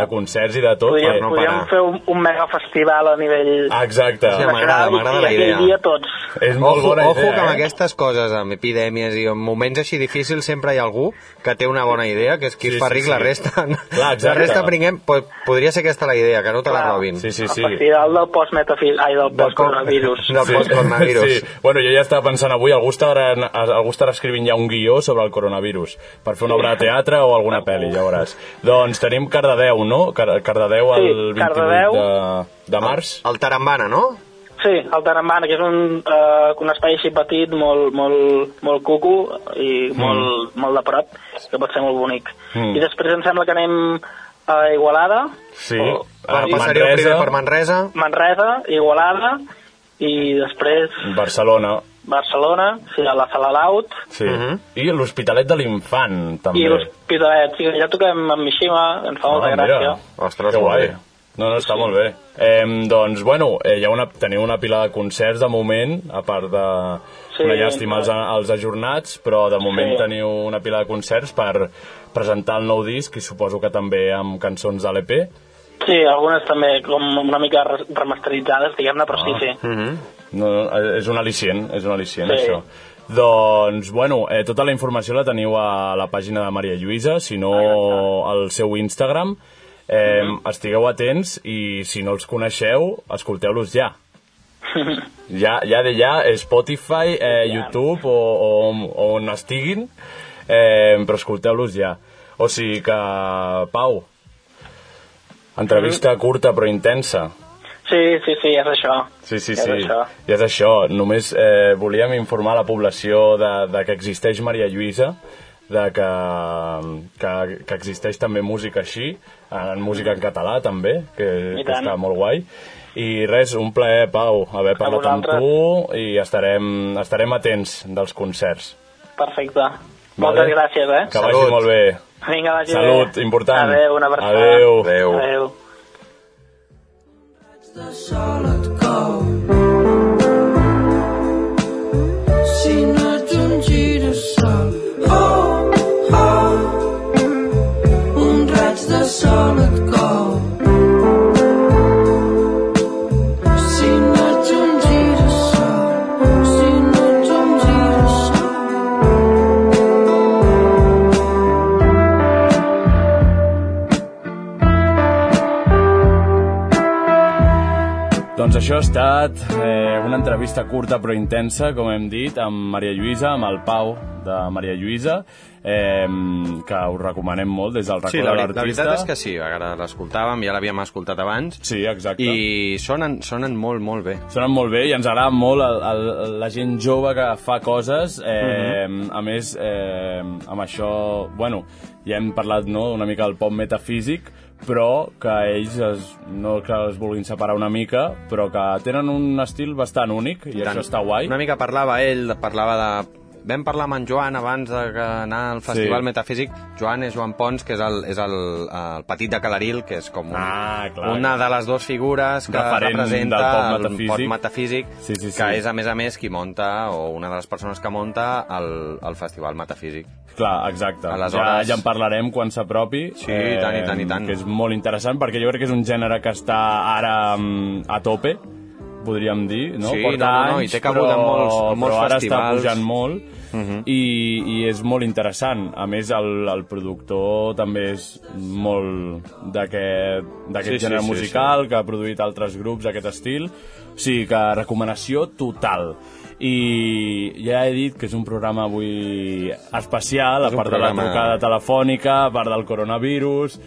[SPEAKER 3] de concerts i de tot.
[SPEAKER 7] Podríem,
[SPEAKER 3] perquè-
[SPEAKER 4] no
[SPEAKER 7] podríem
[SPEAKER 4] parar.
[SPEAKER 7] fer un, un mega festival a nivell...
[SPEAKER 3] Ah, Exacte.
[SPEAKER 4] Sí, m'agrada,
[SPEAKER 7] nacional
[SPEAKER 4] m'agrada
[SPEAKER 7] i
[SPEAKER 4] la
[SPEAKER 7] aquell
[SPEAKER 4] idea.
[SPEAKER 7] dia tots.
[SPEAKER 3] És molt
[SPEAKER 4] ojo,
[SPEAKER 3] bona idea,
[SPEAKER 4] ojo que amb
[SPEAKER 3] eh?
[SPEAKER 4] aquestes coses, amb epidèmies i en moments així difícils, sempre hi ha algú que té una bona idea, que és qui
[SPEAKER 3] Sí,
[SPEAKER 4] sí, fa
[SPEAKER 3] sí,
[SPEAKER 4] ric
[SPEAKER 3] sí.
[SPEAKER 4] la resta.
[SPEAKER 3] Clar, exacte.
[SPEAKER 4] la resta prenguem... po- Podria ser aquesta la idea, que no te la
[SPEAKER 7] Clar.
[SPEAKER 4] robin.
[SPEAKER 3] Sí, sí, sí.
[SPEAKER 7] El festival del post-metafi... Ai, del
[SPEAKER 4] Del
[SPEAKER 7] post-coronavirus.
[SPEAKER 4] cor- del post-coronavirus.
[SPEAKER 3] Sí. Bueno, jo ja estava pensant avui, algú estarà, algú estarà escrivint ja un guió sobre el coronavirus per fer una obra de teatre o alguna pel·li, ja veuràs. Doncs tenim Cardedeu, no? Car Cardedeu el
[SPEAKER 7] Sí,
[SPEAKER 3] 28
[SPEAKER 7] Cardedeu.
[SPEAKER 3] De, de març.
[SPEAKER 4] El Tarambana, no?
[SPEAKER 7] Sí, el Tarambana, que és un, eh, un espai així petit, molt, molt, molt cucu i molt, molt de prop, que pot ser molt bonic.
[SPEAKER 3] Mm.
[SPEAKER 7] I després em sembla que anem a Igualada,
[SPEAKER 4] ah,
[SPEAKER 3] Sí.
[SPEAKER 7] Oh,
[SPEAKER 4] Ara passaríeu
[SPEAKER 3] Ah, Manresa,
[SPEAKER 4] primer per Manresa.
[SPEAKER 7] Manresa, Igualada, i després
[SPEAKER 3] Mm. Barcelona.
[SPEAKER 7] Barcelona, sí, a la Sala Laut,
[SPEAKER 3] Sí.
[SPEAKER 4] Mhm.
[SPEAKER 3] I l'Hospitalet de l'Infant, també.
[SPEAKER 7] i l'Hospitalet. Sí, ja toquem amb Mishima, ens fa molta
[SPEAKER 3] Ah, mira.
[SPEAKER 7] gràcia.
[SPEAKER 4] Ostres,
[SPEAKER 3] que
[SPEAKER 4] molt
[SPEAKER 3] guai.
[SPEAKER 4] bé.
[SPEAKER 3] No, no, està molt bé. Eh, doncs, bueno, eh, hi ha una, teniu una pila de concerts de moment, a part de...
[SPEAKER 7] Sí,
[SPEAKER 3] una llàstima als, als ajornats, però de moment
[SPEAKER 7] Sí.
[SPEAKER 3] teniu una pila de concerts per presentar el nou disc i suposo que també amb cançons de l'EP.
[SPEAKER 7] Sí, algunes també com una mica re- remasteritzades, diguem-ne, però
[SPEAKER 3] Ah.
[SPEAKER 7] sí, sí.
[SPEAKER 3] No, no, és un al·licient, és un al·licient,
[SPEAKER 7] Sí.
[SPEAKER 3] això. Doncs, bueno, eh, tota la informació la teniu a la pàgina de Maria Lluïsa, si no al seu Instagram. Eh, Estigueu atents i si no els coneixeu, escolteu-los ja. Ja, ja de ja, Spotify, eh, YouTube o, o, o on estiguin, eh, però escolteu-los ja. O sigui que, Pau, entrevista curta però intensa.
[SPEAKER 7] Sí, sí, sí, és això.
[SPEAKER 3] Sí, sí,
[SPEAKER 7] és
[SPEAKER 3] sí.
[SPEAKER 7] Això.
[SPEAKER 3] I és això. Només eh, volíem informar la població de, de que existeix Maria Lluïsa, de que, que, que existeix també música així, en música en català també, que,
[SPEAKER 7] I
[SPEAKER 3] que
[SPEAKER 7] tant.
[SPEAKER 3] està molt guai. I res, un plaer, Pau, haver parlat amb
[SPEAKER 7] vosaltres.
[SPEAKER 3] tu i estarem, estarem atents dels concerts.
[SPEAKER 7] Perfecte. Moltes
[SPEAKER 3] Vale.
[SPEAKER 7] gràcies, eh?
[SPEAKER 3] Que
[SPEAKER 4] Salut.
[SPEAKER 3] vagi molt bé.
[SPEAKER 7] Vinga, vagi bé.
[SPEAKER 3] Salut, important.
[SPEAKER 7] Adéu, una abraçada.
[SPEAKER 3] Adéu.
[SPEAKER 4] Adéu.
[SPEAKER 7] Adéu.
[SPEAKER 6] The solid gold. See nothing to sol. Oh, oh. Un raig de sol et cou. Si no ets un girassol, si no ets un girassol.
[SPEAKER 3] Doncs això ha estat eh, una entrevista curta però intensa, com hem dit, amb Maria Lluïsa, amb el Pau de Maria Lluïsa, eh, que us recomanem molt des del racó
[SPEAKER 4] Sí,
[SPEAKER 3] de
[SPEAKER 4] la, veri- la
[SPEAKER 3] l'artista.
[SPEAKER 4] veritat és que sí, ara l'escoltàvem, ja l'havíem escoltat abans,
[SPEAKER 3] Sí, exacte.
[SPEAKER 4] i sonen, sonen molt, molt bé.
[SPEAKER 3] Sonen molt bé i ens agrada molt el, el, la gent jove que fa coses. Eh,
[SPEAKER 4] Mhm.
[SPEAKER 3] A més, eh, amb això, bueno, ja hem parlat no, una mica del pop metafísic, però que ells es, no que es vulguin separar una mica, però que tenen un estil bastant únic i,
[SPEAKER 4] tant.
[SPEAKER 3] això està guai.
[SPEAKER 4] Una mica parlava ell, parlava de... Vam parlar amb en Joan abans de que anar al Festival
[SPEAKER 3] Sí.
[SPEAKER 4] Metafísic. Joan és Joan Pons, que és el, és el, el petit de Calaril, que és com un,
[SPEAKER 3] Ah, clar.
[SPEAKER 4] una de les dues figures que
[SPEAKER 3] Referent del
[SPEAKER 4] representa
[SPEAKER 3] pop
[SPEAKER 4] el
[SPEAKER 3] metafísic.
[SPEAKER 4] pop metafísic,
[SPEAKER 3] Sí, sí, sí.
[SPEAKER 4] que és, a més a més, qui monta, o una de les persones que monta, el, el Festival Metafísic.
[SPEAKER 3] Clar, exacte.
[SPEAKER 4] Aleshores-
[SPEAKER 3] Ja, ja en parlarem quan s'apropi. Eh,
[SPEAKER 4] Sí, i tant, i tant, i tant.
[SPEAKER 3] Que és molt interessant, perquè jo crec que és un gènere que està ara mm, a tope, podríem dir, no?
[SPEAKER 4] Sí,
[SPEAKER 3] Porta
[SPEAKER 4] no, no, no, i
[SPEAKER 3] anys,
[SPEAKER 4] té cabuda en
[SPEAKER 3] però,
[SPEAKER 4] molts- en molts
[SPEAKER 3] però ara està
[SPEAKER 4] festivals.
[SPEAKER 3] pujant molt
[SPEAKER 4] Mhm.
[SPEAKER 3] i, i és molt interessant. A més, el, el productor també és molt d'aquest
[SPEAKER 4] Sí,
[SPEAKER 3] d'aquest
[SPEAKER 4] sí,
[SPEAKER 3] gènere
[SPEAKER 4] sí,
[SPEAKER 3] musical, que ha produït altres grups d'aquest estil. O sigui que recomanació total. I ja he dit que és un programa avui especial, a
[SPEAKER 4] És un
[SPEAKER 3] part de la
[SPEAKER 4] programa-
[SPEAKER 3] trucada telefònica, a part del coronavirus,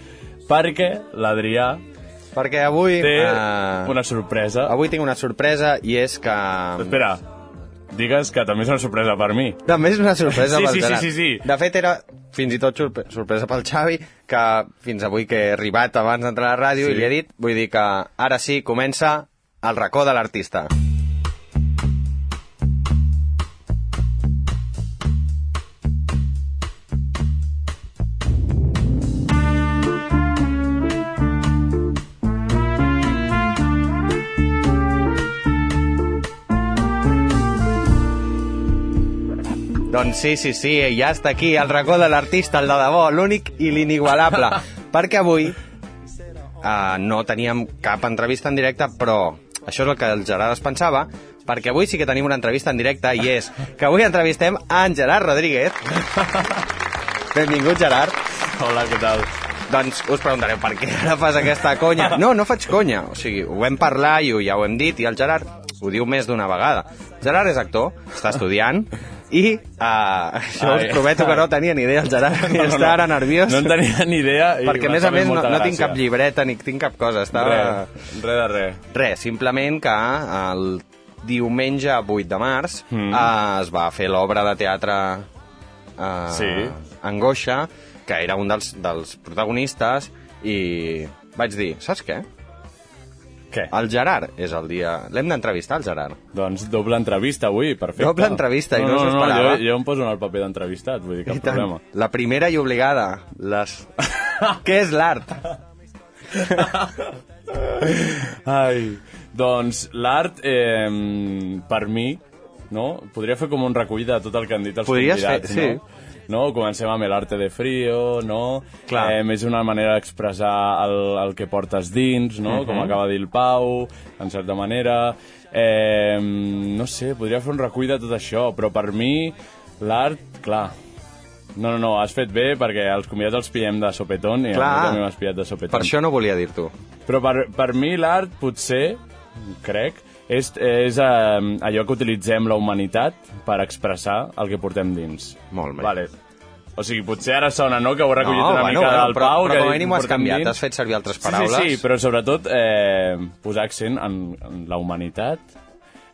[SPEAKER 3] perquè l'Adrià
[SPEAKER 4] Perquè avui...
[SPEAKER 3] té
[SPEAKER 4] eh,
[SPEAKER 3] una sorpresa.
[SPEAKER 4] Avui tinc una sorpresa i és que...
[SPEAKER 3] Espera, digues que també és una sorpresa per mi.
[SPEAKER 4] També és una sorpresa
[SPEAKER 3] Sí,
[SPEAKER 4] pel
[SPEAKER 3] sí, sí,
[SPEAKER 4] Gerard.
[SPEAKER 3] sí, sí.
[SPEAKER 4] De fet, era fins i tot sorpre sorpresa pel Xavi, que fins avui que he arribat abans d'entrar a la ràdio
[SPEAKER 3] Sí.
[SPEAKER 4] i li he dit, vull dir que ara sí, comença el racó de l'artista. Doncs sí, sí, sí, ja està aquí, el racó de l'artista, el de debò, l'únic i l'inigualable. perquè avui uh, no teníem cap entrevista en directe, però això és el que el Gerard es pensava, perquè avui sí que tenim una entrevista en directe i és que avui entrevistem a en Gerard Rodríguez. Benvingut, Gerard.
[SPEAKER 3] Hola, què tal?
[SPEAKER 4] Doncs us preguntareu per què ara fas aquesta conya.
[SPEAKER 3] *laughs*
[SPEAKER 4] No, no faig conya. O sigui, ho vam parlar i ho, ja ho hem dit, i el Gerard ho diu més d'una vegada. Gerard és actor, està estudiant, i uh, això
[SPEAKER 3] Ai.
[SPEAKER 4] us prometo que no tenia ni idea el Gerard, no, està ara nerviós.
[SPEAKER 3] No en tenia ni idea. I
[SPEAKER 4] perquè, a
[SPEAKER 3] m'ha
[SPEAKER 4] més a
[SPEAKER 3] fet
[SPEAKER 4] més, no,
[SPEAKER 3] molta
[SPEAKER 4] no tinc
[SPEAKER 3] gràcia.
[SPEAKER 4] cap llibreta ni tinc cap cosa. Estava...
[SPEAKER 3] Res, res de res.
[SPEAKER 4] Res, simplement que el diumenge 8 de març mm. eh, es va fer l'obra de teatre eh,
[SPEAKER 3] Sí.
[SPEAKER 4] Angoixa, que era un dels, dels protagonistes, i vaig dir, saps què?
[SPEAKER 3] Què?
[SPEAKER 4] El Gerard és el dia... L'hem d'entrevistar, el Gerard.
[SPEAKER 3] Ah, Doncs doble entrevista avui, perfecte.
[SPEAKER 4] Doble entrevista, i no s'ho
[SPEAKER 3] no, no, jo,
[SPEAKER 4] esperava.
[SPEAKER 3] jo em poso en el paper d'entrevistat, vull dir, cap problema.
[SPEAKER 4] La primera i obligada. Les...
[SPEAKER 3] *laughs*
[SPEAKER 4] què és l'art?
[SPEAKER 3] Ai, doncs l'art, eh, per mi, no? Podria fer com un recull de tot el que han dit els
[SPEAKER 4] Podries
[SPEAKER 3] convidats,
[SPEAKER 4] fer, sí.
[SPEAKER 3] no? No? Comencem amb l'arte de frío, no?
[SPEAKER 4] Clar.
[SPEAKER 3] Eh, és una manera d'expressar el, el que portes dins, no? Com
[SPEAKER 4] Mhm.
[SPEAKER 3] acaba de dir el Pau, en certa manera. Eh, no sé, podria fer un recull de tot això, però per mi l'art, clar... No, no, no, has fet bé perquè els convidats els pillem de sopetón i a
[SPEAKER 4] Clar.
[SPEAKER 3] mi també m'has pillat de sopetón.
[SPEAKER 4] Per això no volia dir-t'ho.
[SPEAKER 3] Però per, per mi l'art potser, crec, és, és eh, allò que utilitzem la humanitat per expressar el que portem dins.
[SPEAKER 4] Molt bé.
[SPEAKER 3] Vale. O sigui, potser ara sona, no?, que ho he recollit una mica del
[SPEAKER 4] però,
[SPEAKER 3] Pau.
[SPEAKER 4] però,
[SPEAKER 3] que
[SPEAKER 4] com
[SPEAKER 3] ha
[SPEAKER 4] a
[SPEAKER 3] dit,
[SPEAKER 4] mínim ho has
[SPEAKER 3] portem
[SPEAKER 4] canviat,
[SPEAKER 3] dins.
[SPEAKER 4] has fet servir altres
[SPEAKER 3] Sí,
[SPEAKER 4] paraules.
[SPEAKER 3] Sí, sí, però sobretot eh, posar accent en, en la humanitat,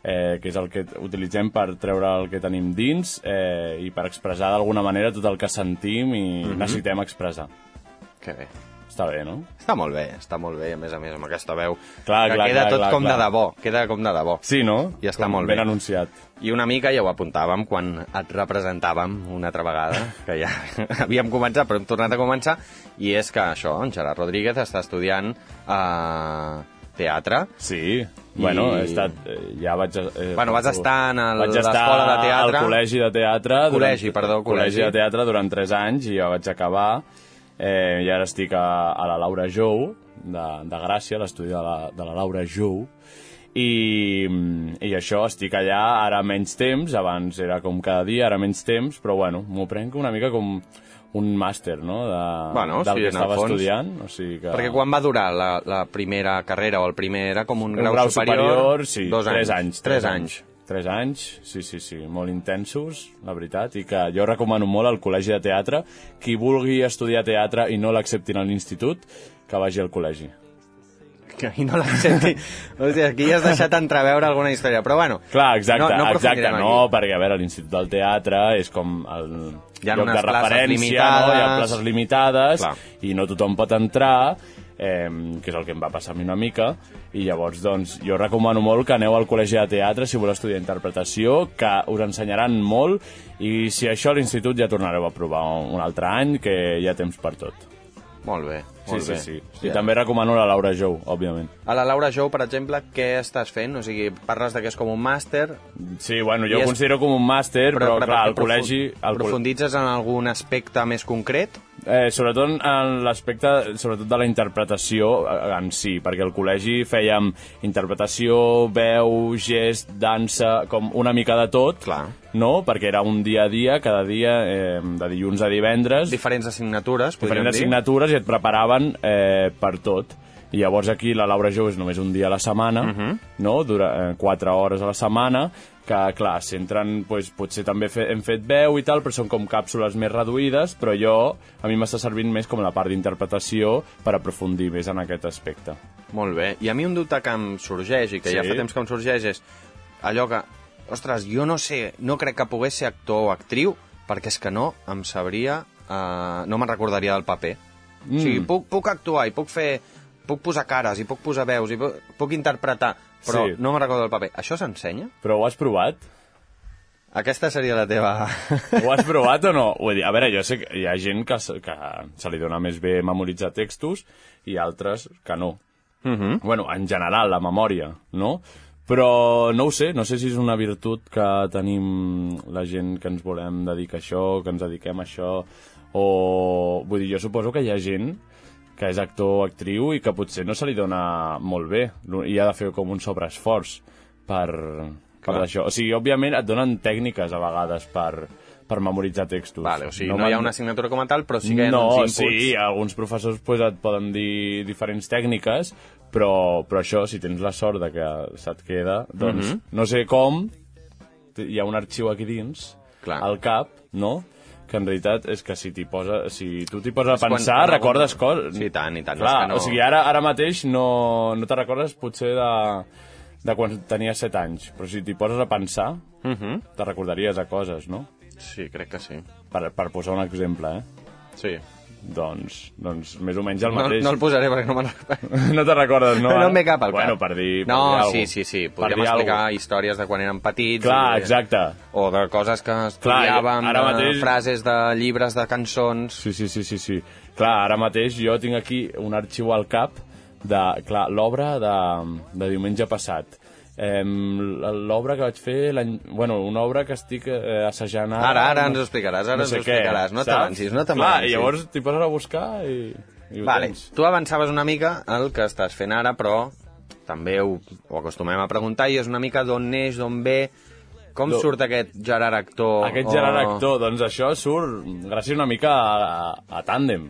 [SPEAKER 3] eh, que és el que utilitzem per treure el que tenim dins eh, i per expressar d'alguna manera tot el que sentim i
[SPEAKER 4] Mhm.
[SPEAKER 3] necessitem expressar.
[SPEAKER 4] Que bé.
[SPEAKER 3] Està bé, no?
[SPEAKER 4] Està molt bé, està molt bé, a més a més, amb aquesta veu.
[SPEAKER 3] Clar,
[SPEAKER 4] que
[SPEAKER 3] clar,
[SPEAKER 4] queda
[SPEAKER 3] clar,
[SPEAKER 4] tot
[SPEAKER 3] clar,
[SPEAKER 4] com
[SPEAKER 3] clar.
[SPEAKER 4] de debò, queda com de debò.
[SPEAKER 3] Sí, no?
[SPEAKER 4] I està
[SPEAKER 3] Com
[SPEAKER 4] molt bé.
[SPEAKER 3] Ben anunciat.
[SPEAKER 4] I una mica ja ho apuntàvem quan et representàvem una altra vegada, que ja *laughs* havíem començat, però hem tornat a començar, i és que això, en Gerard Rodríguez està estudiant eh, teatre,
[SPEAKER 3] Sí, bueno, he estat, eh, ja vaig... Eh,
[SPEAKER 4] Bueno, vas estar en el-
[SPEAKER 3] vaig estar
[SPEAKER 4] l'escola de teatre.
[SPEAKER 3] al col·legi de teatre...
[SPEAKER 4] Col·legi, perdó, col·legi.
[SPEAKER 3] Col·legi de teatre durant 3 anys i ja vaig acabar. Eh, I ara estic a, a la Laura Jou, de, de Gràcia, l'estudi de, la, de la Laura Jou. I, i això, estic allà ara menys temps, abans era com cada dia, ara menys temps, però bueno, m'ho prenc una mica com un màster, no?, de,
[SPEAKER 4] Bueno,
[SPEAKER 3] del
[SPEAKER 4] sí,
[SPEAKER 3] que
[SPEAKER 4] en el
[SPEAKER 3] estava
[SPEAKER 4] fons.
[SPEAKER 3] estudiant. O sigui que...
[SPEAKER 4] perquè quan va durar la, la primera carrera o el primer era com un,
[SPEAKER 3] Un grau, grau superior, sí,
[SPEAKER 4] dos
[SPEAKER 3] tres
[SPEAKER 4] anys.
[SPEAKER 3] anys.
[SPEAKER 4] Tres anys.
[SPEAKER 3] 3 anys, sí, sí, sí, molt intensos, la veritat, i que jo recomano molt al col·legi de teatre. Qui vulgui estudiar teatre i no l'acceptin a l'institut, que vagi al col·legi.
[SPEAKER 4] que ahir no l'accepti. O sigui, aquí ja has deixat entreveure alguna història, però bueno.
[SPEAKER 3] Clar, exacte,
[SPEAKER 4] no, no
[SPEAKER 3] exacte,
[SPEAKER 4] aprofundirem
[SPEAKER 3] no,
[SPEAKER 4] aquí.
[SPEAKER 3] perquè, a veure, l'Institut del Teatre és com el
[SPEAKER 4] Hi ha
[SPEAKER 3] lloc
[SPEAKER 4] unes
[SPEAKER 3] de
[SPEAKER 4] places
[SPEAKER 3] referència, no? hi ha
[SPEAKER 4] limitades.
[SPEAKER 3] places limitades,
[SPEAKER 4] Clar.
[SPEAKER 3] i no tothom pot entrar, eh, que és el que em va passar a mi una mica, i llavors, doncs, jo recomano molt que aneu al col·legi de teatre si voleu estudiar interpretació, que us ensenyaran molt, i si això a l'institut ja tornareu a provar un un altre any, que hi ha temps per tot.
[SPEAKER 4] Molt bé,
[SPEAKER 3] Sí,
[SPEAKER 4] molt
[SPEAKER 3] sí,
[SPEAKER 4] bé. eh.
[SPEAKER 3] sí. I també recomano la Laura Jou, òbviament.
[SPEAKER 4] A la Laura Jou, per exemple, què estàs fent? O sigui, parles de que és com un màster,
[SPEAKER 3] Sí, bueno,
[SPEAKER 4] I
[SPEAKER 3] jo
[SPEAKER 4] és-
[SPEAKER 3] ho considero com un màster, però, clar,
[SPEAKER 4] perquè
[SPEAKER 3] al col·legi...
[SPEAKER 4] profu-
[SPEAKER 3] al col·legi-
[SPEAKER 4] Profunditzes en algun aspecte més concret?
[SPEAKER 3] Eh, sobretot en- en l'aspecte sobretot de la interpretació eh, en si, perquè al col·legi fèiem interpretació, veu, gest, dansa, com una mica de tot,
[SPEAKER 4] Clar.
[SPEAKER 3] no? perquè era un dia a dia, cada dia, eh, de dilluns a divendres,
[SPEAKER 4] Diferents assignatures, podríem
[SPEAKER 3] diferents
[SPEAKER 4] dir.
[SPEAKER 3] assignatures i et preparaven eh, per tot. I llavors aquí la Laura Jou és només un dia a la setmana,
[SPEAKER 4] Mhm.
[SPEAKER 3] no? Dura eh, 4 hores a la setmana, que, clar, s'entren, doncs, potser també fe, hem fet veu i tal, però són com càpsules més reduïdes, però jo, a mi m'està servint més com la part d'interpretació per aprofundir més en aquest aspecte.
[SPEAKER 4] Molt bé. I a mi un dubte que em sorgeix, i que sí. ja
[SPEAKER 3] Sí.
[SPEAKER 4] fa temps que em sorgeix, és allò que, ostres, jo no sé, no crec que pogués ser actor o actriu, perquè és que no em sabria, eh, no me'n recordaria del paper. Mm. O sigui, puc, puc actuar i puc fer... Puc posar cares i puc posar veus i puc, puc interpretar, però
[SPEAKER 3] Sí.
[SPEAKER 4] sí. no me'n recordo del paper. Això s'ensenya?
[SPEAKER 3] Però ho has provat?
[SPEAKER 4] Aquesta seria la teva...
[SPEAKER 3] Ho has provat o no? Vull dir, a veure, jo sé que hi ha gent que, se- que se li dona més bé memoritzar textos i altres que no. Uh -huh. Bueno, en general, la memòria, no? Però no ho sé, no sé si és una virtut que tenim la gent que ens volem dedicar a això, que ens dediquem a això, o... Vull dir, jo suposo que hi ha gent que és actor o actriu i que potser no se li dona molt bé Lo- i ha de fer com un sobreesforç per, per
[SPEAKER 4] Clar.
[SPEAKER 3] això. O sigui, òbviament et donen tècniques a vegades per, per memoritzar textos.
[SPEAKER 4] Vale, o sigui, no, no hi ha
[SPEAKER 3] van-
[SPEAKER 4] una assignatura com a tal, però sí que hi ha
[SPEAKER 3] no,
[SPEAKER 4] uns inputs.
[SPEAKER 3] sí, alguns professors pues, et poden dir diferents tècniques, però, però això, si tens la sort de que se't queda, doncs
[SPEAKER 4] Mhm.
[SPEAKER 3] mm -hmm. no sé com, t- hi ha un arxiu aquí dins,
[SPEAKER 4] Clar.
[SPEAKER 3] al cap, no?, que en realitat és que si t'hi posa, si tu t'hi poses a
[SPEAKER 4] quan-
[SPEAKER 3] pensar,
[SPEAKER 4] quan algun-
[SPEAKER 3] recordes coses.
[SPEAKER 4] Sí, i tant, i tant, és
[SPEAKER 3] Clar,
[SPEAKER 4] que no-
[SPEAKER 3] o sigui, ara, ara mateix no, no te recordes potser de, de quan tenies 7 anys, però si t'hi poses a pensar, uh -huh. te recordaries de coses, no?
[SPEAKER 4] Sí, crec que sí.
[SPEAKER 3] Per, per posar un exemple, eh?
[SPEAKER 4] Sí.
[SPEAKER 3] Doncs, doncs més o menys el
[SPEAKER 4] No,
[SPEAKER 3] mateix. *laughs*
[SPEAKER 4] no el posaré perquè no me'n recordo.
[SPEAKER 3] no te recordes, no?
[SPEAKER 4] No, no em ve cap al cap.
[SPEAKER 3] Bueno, per dir... per dir
[SPEAKER 4] No,
[SPEAKER 3] alguna
[SPEAKER 4] sí,
[SPEAKER 3] cosa.
[SPEAKER 4] sí, sí.
[SPEAKER 3] Per
[SPEAKER 4] Podríem
[SPEAKER 3] dir
[SPEAKER 4] explicar
[SPEAKER 3] alguna cosa.
[SPEAKER 4] històries de quan érem petits.
[SPEAKER 3] Clar,
[SPEAKER 4] i-
[SPEAKER 3] exacte.
[SPEAKER 4] O de coses que
[SPEAKER 3] Clar,
[SPEAKER 4] estudiàvem,
[SPEAKER 3] ara
[SPEAKER 4] de
[SPEAKER 3] mateix-
[SPEAKER 4] frases de llibres, de cançons...
[SPEAKER 3] Sí, sí, sí, sí, sí. Clar, ara mateix jo tinc aquí un arxiu al cap de, clar, l'obra de, de diumenge passat. Eh, l'obra que vaig fer l'any... Bueno, una obra que estic eh, assajant ara...
[SPEAKER 4] Ara, ara ens ho explicaràs, ara ens ho
[SPEAKER 3] què,
[SPEAKER 4] explicaràs. No
[SPEAKER 3] saps?
[SPEAKER 4] t'avancis,
[SPEAKER 3] Clar,
[SPEAKER 4] no t'avancis.
[SPEAKER 3] i llavors t'hi poses a buscar i... i ho
[SPEAKER 4] Vale,
[SPEAKER 3] tens.
[SPEAKER 4] tu avançaves una mica el que estàs fent ara, però també ho, ho acostumem a preguntar i és una mica d'on neix, d'on ve... Com
[SPEAKER 3] Do-
[SPEAKER 4] surt aquest Gerard Actor? Oh,
[SPEAKER 3] Aquest
[SPEAKER 4] o-
[SPEAKER 3] Gerard Actor, doncs això surt gràcies una mica a, a, a Tàndem,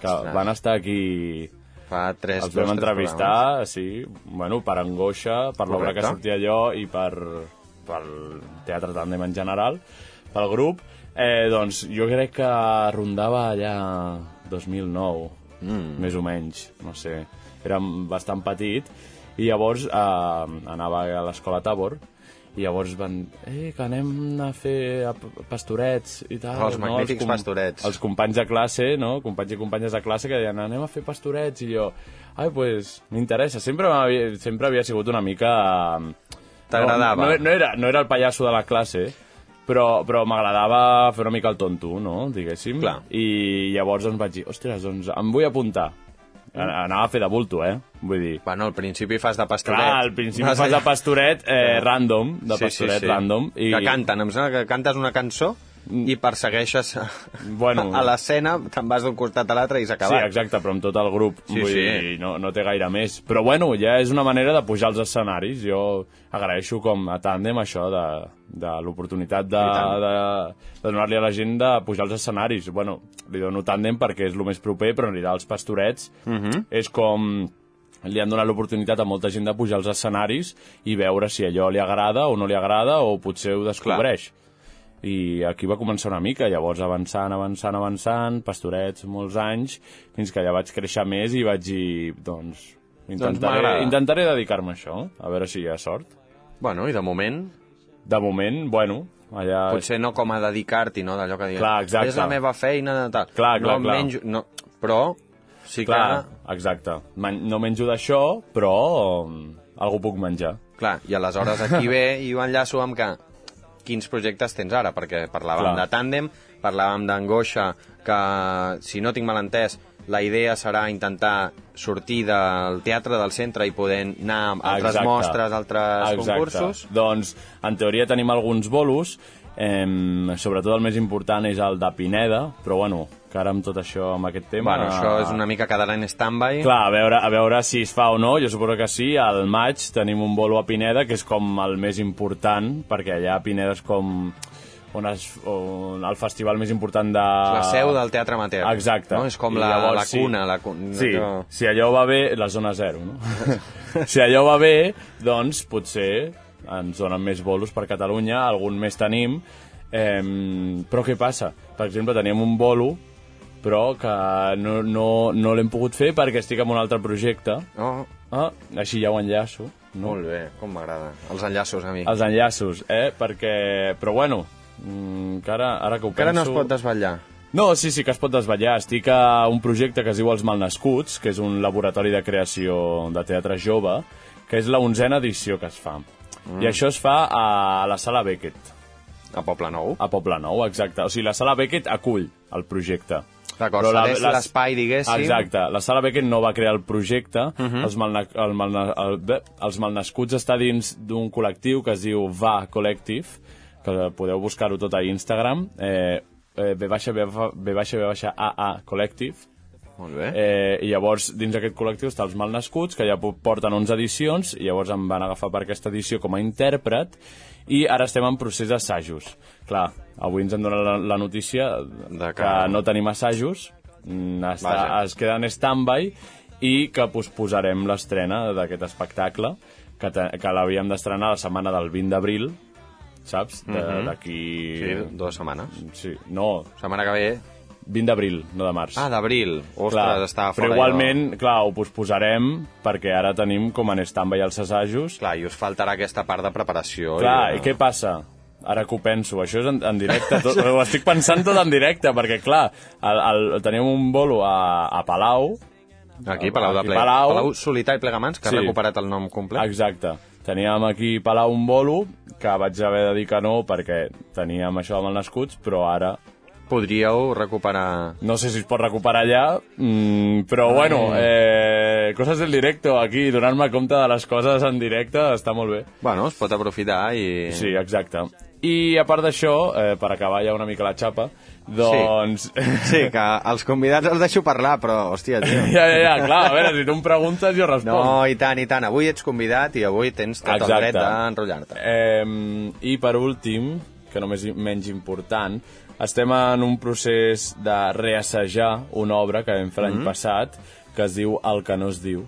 [SPEAKER 3] que
[SPEAKER 4] Ostres.
[SPEAKER 3] van estar aquí...
[SPEAKER 4] Fa tres,
[SPEAKER 3] Els
[SPEAKER 4] dos,
[SPEAKER 3] vam
[SPEAKER 4] tres programes.
[SPEAKER 3] entrevistar, sí, bueno, per Angoixa, per l'obra que
[SPEAKER 4] Correcte.
[SPEAKER 3] sortia allò i per, pel Teatre Tàndem en general, pel grup. Eh, doncs jo crec que rondava allà 2009, mm. més o menys, no sé. Era bastant petit i llavors eh, anava a l'escola Tabor i llavors van... Eh, que anem a fer a p- pastorets i tal.
[SPEAKER 4] Els magnífics
[SPEAKER 3] Ah, com-
[SPEAKER 4] pastorets.
[SPEAKER 3] Els companys de classe, no? Companys i companyes de classe que deien anem a fer pastorets i jo, ai, doncs, pues, m'interessa. Sempre, m'havia- sempre havia sigut una mica... mm,
[SPEAKER 4] T'agradava.
[SPEAKER 3] No, no, no, era, no era el pallasso de la classe, però, però m'agradava fer una mica el tonto, no?, diguéssim.
[SPEAKER 4] Clar.
[SPEAKER 3] I llavors doncs, vaig dir, ostres, doncs em vull apuntar. An- Anava a fer de bulto, eh? Vull dir,
[SPEAKER 4] Bueno, al principi fas de pastoret.
[SPEAKER 3] Clar, al principi
[SPEAKER 4] Vas
[SPEAKER 3] fas de
[SPEAKER 4] allà-
[SPEAKER 3] pastoret eh, random, de
[SPEAKER 4] Sí, sí,
[SPEAKER 3] pastoret
[SPEAKER 4] sí.
[SPEAKER 3] random. I, Mm.
[SPEAKER 4] Que canten, em sembla que cantes una cançó i persegueixes a,
[SPEAKER 3] Bueno.
[SPEAKER 4] a l'escena, te'n vas d'un costat a l'altre i s'ha
[SPEAKER 3] Sí,
[SPEAKER 4] acabat.
[SPEAKER 3] exacte, però amb tot el grup.
[SPEAKER 4] Sí,
[SPEAKER 3] vull
[SPEAKER 4] sí.
[SPEAKER 3] dir, no, no té gaire més. Però bueno, ja és una manera de pujar als escenaris. Jo agraeixo com a tàndem això de, de l'oportunitat de,
[SPEAKER 4] tant.
[SPEAKER 3] de, de donar-li a la gent de pujar als escenaris. Bueno, li dono tàndem perquè és el més proper, però en realitat els pastorets
[SPEAKER 4] Mhm.
[SPEAKER 3] és com li han donat l'oportunitat a molta gent de pujar als escenaris i veure si allò li agrada o no li agrada o potser ho descobreix. I aquí va començar una mica, llavors avançant, avançant, avançant, pastorets, molts anys, fins que ja vaig créixer més i vaig dir, doncs, intentaré,
[SPEAKER 4] m'agrada.
[SPEAKER 3] doncs intentaré dedicar-me a això, a veure si hi ha sort.
[SPEAKER 4] Bueno, i de moment,
[SPEAKER 3] De moment, bueno, allà...
[SPEAKER 4] potser no com a dedicar-t'hi, no?, d'allò que dius.
[SPEAKER 3] Clar, exacte.
[SPEAKER 4] És la meva feina, de tal.
[SPEAKER 3] Clar, clar,
[SPEAKER 4] no
[SPEAKER 3] clar.
[SPEAKER 4] Menjo, no, però sí
[SPEAKER 3] Clar,
[SPEAKER 4] que...
[SPEAKER 3] exacte. Man no menjo d'això, però um, algú puc menjar.
[SPEAKER 4] Clar, i aleshores aquí ve i ho enllaço amb que quins projectes tens ara, perquè parlàvem
[SPEAKER 3] Clar.
[SPEAKER 4] de tàndem, parlàvem d'angoixa, que, si no tinc mal entès, la idea serà intentar sortir del teatre del centre i poder anar a altres
[SPEAKER 3] Exacte.
[SPEAKER 4] mostres, altres concursos.
[SPEAKER 3] Doncs, en teoria tenim alguns bolos Eh, sobretot el més important és el de Pineda, però bueno, que ara amb tot això, amb aquest tema...
[SPEAKER 4] Bueno, això és una mica quedarà en stand-by.
[SPEAKER 3] Ah. Clar, a veure, a veure si es fa o no, jo suposo que sí. Al maig tenim un bolo a Pineda, que és com el més important, perquè allà a Pineda és com on es, on el festival més important de...
[SPEAKER 4] La seu del Teatre Amateur.
[SPEAKER 3] Exacte.
[SPEAKER 4] No? És com
[SPEAKER 3] I
[SPEAKER 4] la,
[SPEAKER 3] llavors,
[SPEAKER 4] la cuna. La cuna
[SPEAKER 3] Sí,
[SPEAKER 4] allò-
[SPEAKER 3] si allò va bé, la zona zero, no? *laughs* si allò va bé, doncs potser ens donen més bolos per Catalunya, algun més tenim, eh, però què passa? Per exemple, teníem un bolo, però que no, no, no l'hem pogut fer perquè estic en un altre projecte.
[SPEAKER 4] Oh,
[SPEAKER 3] Ah, així ja ho enllaço. No?
[SPEAKER 4] molt bé, com m'agrada. Els enllaços, amic.
[SPEAKER 3] Els enllaços, eh? Perquè... Però bueno, mm, que ara, ara que ho
[SPEAKER 4] Encara
[SPEAKER 3] penso...
[SPEAKER 4] no es pot desvetllar.
[SPEAKER 3] No, sí, sí que es pot desvetllar. Estic a un projecte que es diu Els Malnascuts, que és un laboratori de creació de teatre jove, que és la onzena edició que es fa. Mm. I això es fa a la sala Beckett,
[SPEAKER 4] A Poble Nou.
[SPEAKER 3] a Poble Nou, exacte. O sigui, la sala Beckett acull el projecte.
[SPEAKER 4] D'acord,
[SPEAKER 3] Però la-
[SPEAKER 4] cedeix
[SPEAKER 3] les-
[SPEAKER 4] l'espai, diguéssim. Mhm.
[SPEAKER 3] Exacte. La sala Beckett no va crear el projecte. Uh -huh. els, malna, el malna, el, bé, els Malnascuts està dins d'un col·lectiu que es diu Va Collective, que podeu buscar-ho tot a Instagram. Eh, eh, B baixa, B baixa, B baixa, B baixa, AA Collective.
[SPEAKER 4] Molt bé.
[SPEAKER 3] Eh, I llavors, dins d'aquest col·lectiu està els Malnascuts, que ja po- porten 11 edicions, i llavors em van agafar per aquesta edició com a intèrpret, i ara estem en procés d'assajos. Clar, avui ens han donat la, la notícia
[SPEAKER 4] De que-
[SPEAKER 3] que no tenim assajos, mm, està,
[SPEAKER 4] Vaja.
[SPEAKER 3] es queda en stand-by, i que posposarem l'estrena d'aquest espectacle, que, te- que l'havíem d'estrenar la setmana del 20 d'abril, saps? De- D'aquí...
[SPEAKER 4] Mhm. Sí, dues setmanes.
[SPEAKER 3] Sí, no,
[SPEAKER 4] Setmana que ve...
[SPEAKER 3] 20 d'abril, no de març.
[SPEAKER 4] Ah, d'abril. Ostres, està fora.
[SPEAKER 3] Però
[SPEAKER 4] allò.
[SPEAKER 3] igualment, clar, ho posposarem perquè ara tenim com en stand-by els assajos.
[SPEAKER 4] Clar, i us faltarà aquesta part de preparació.
[SPEAKER 3] Clar,
[SPEAKER 4] i,
[SPEAKER 3] i què passa? Ara que ho penso, això és en, en directe, tot, ho estic pensant tot en directe, perquè clar, el, el, tenim un bolo a, a Palau,
[SPEAKER 4] Aquí, Palau de
[SPEAKER 3] Aquí,
[SPEAKER 4] Ple.
[SPEAKER 3] Palau.
[SPEAKER 4] Palau Solità i Plegamans, que
[SPEAKER 3] Sí.
[SPEAKER 4] ha recuperat el nom complet.
[SPEAKER 3] Exacte. Teníem aquí a Palau un bolo, que vaig haver de dir que no perquè teníem això amb el nascuts, però ara
[SPEAKER 4] Podríeu recuperar...
[SPEAKER 3] no sé si es pot recuperar allà, mm, però bueno, eh, coses del directe aquí, donar-me compte de les coses en directe està molt bé.
[SPEAKER 4] Bueno, es pot aprofitar i...
[SPEAKER 3] Sí, exacte. I a part d'això, eh, per acabar ja una mica la xapa, doncs...
[SPEAKER 4] Sí, que els convidats els deixo parlar, però, hòstia, tio...
[SPEAKER 3] *laughs* ja, ja, ja, clar, a veure, si tu em preguntes jo responc.
[SPEAKER 4] No, i tant, i tant. Avui ets convidat i avui tens tot
[SPEAKER 3] Exacte.
[SPEAKER 4] el dret d'enrotllar-te.
[SPEAKER 3] Eh, I per últim, que no és menys important, estem en un procés de reassajar una obra que vam fer
[SPEAKER 4] Mm-hmm.
[SPEAKER 3] l'any passat que es diu El que no es diu.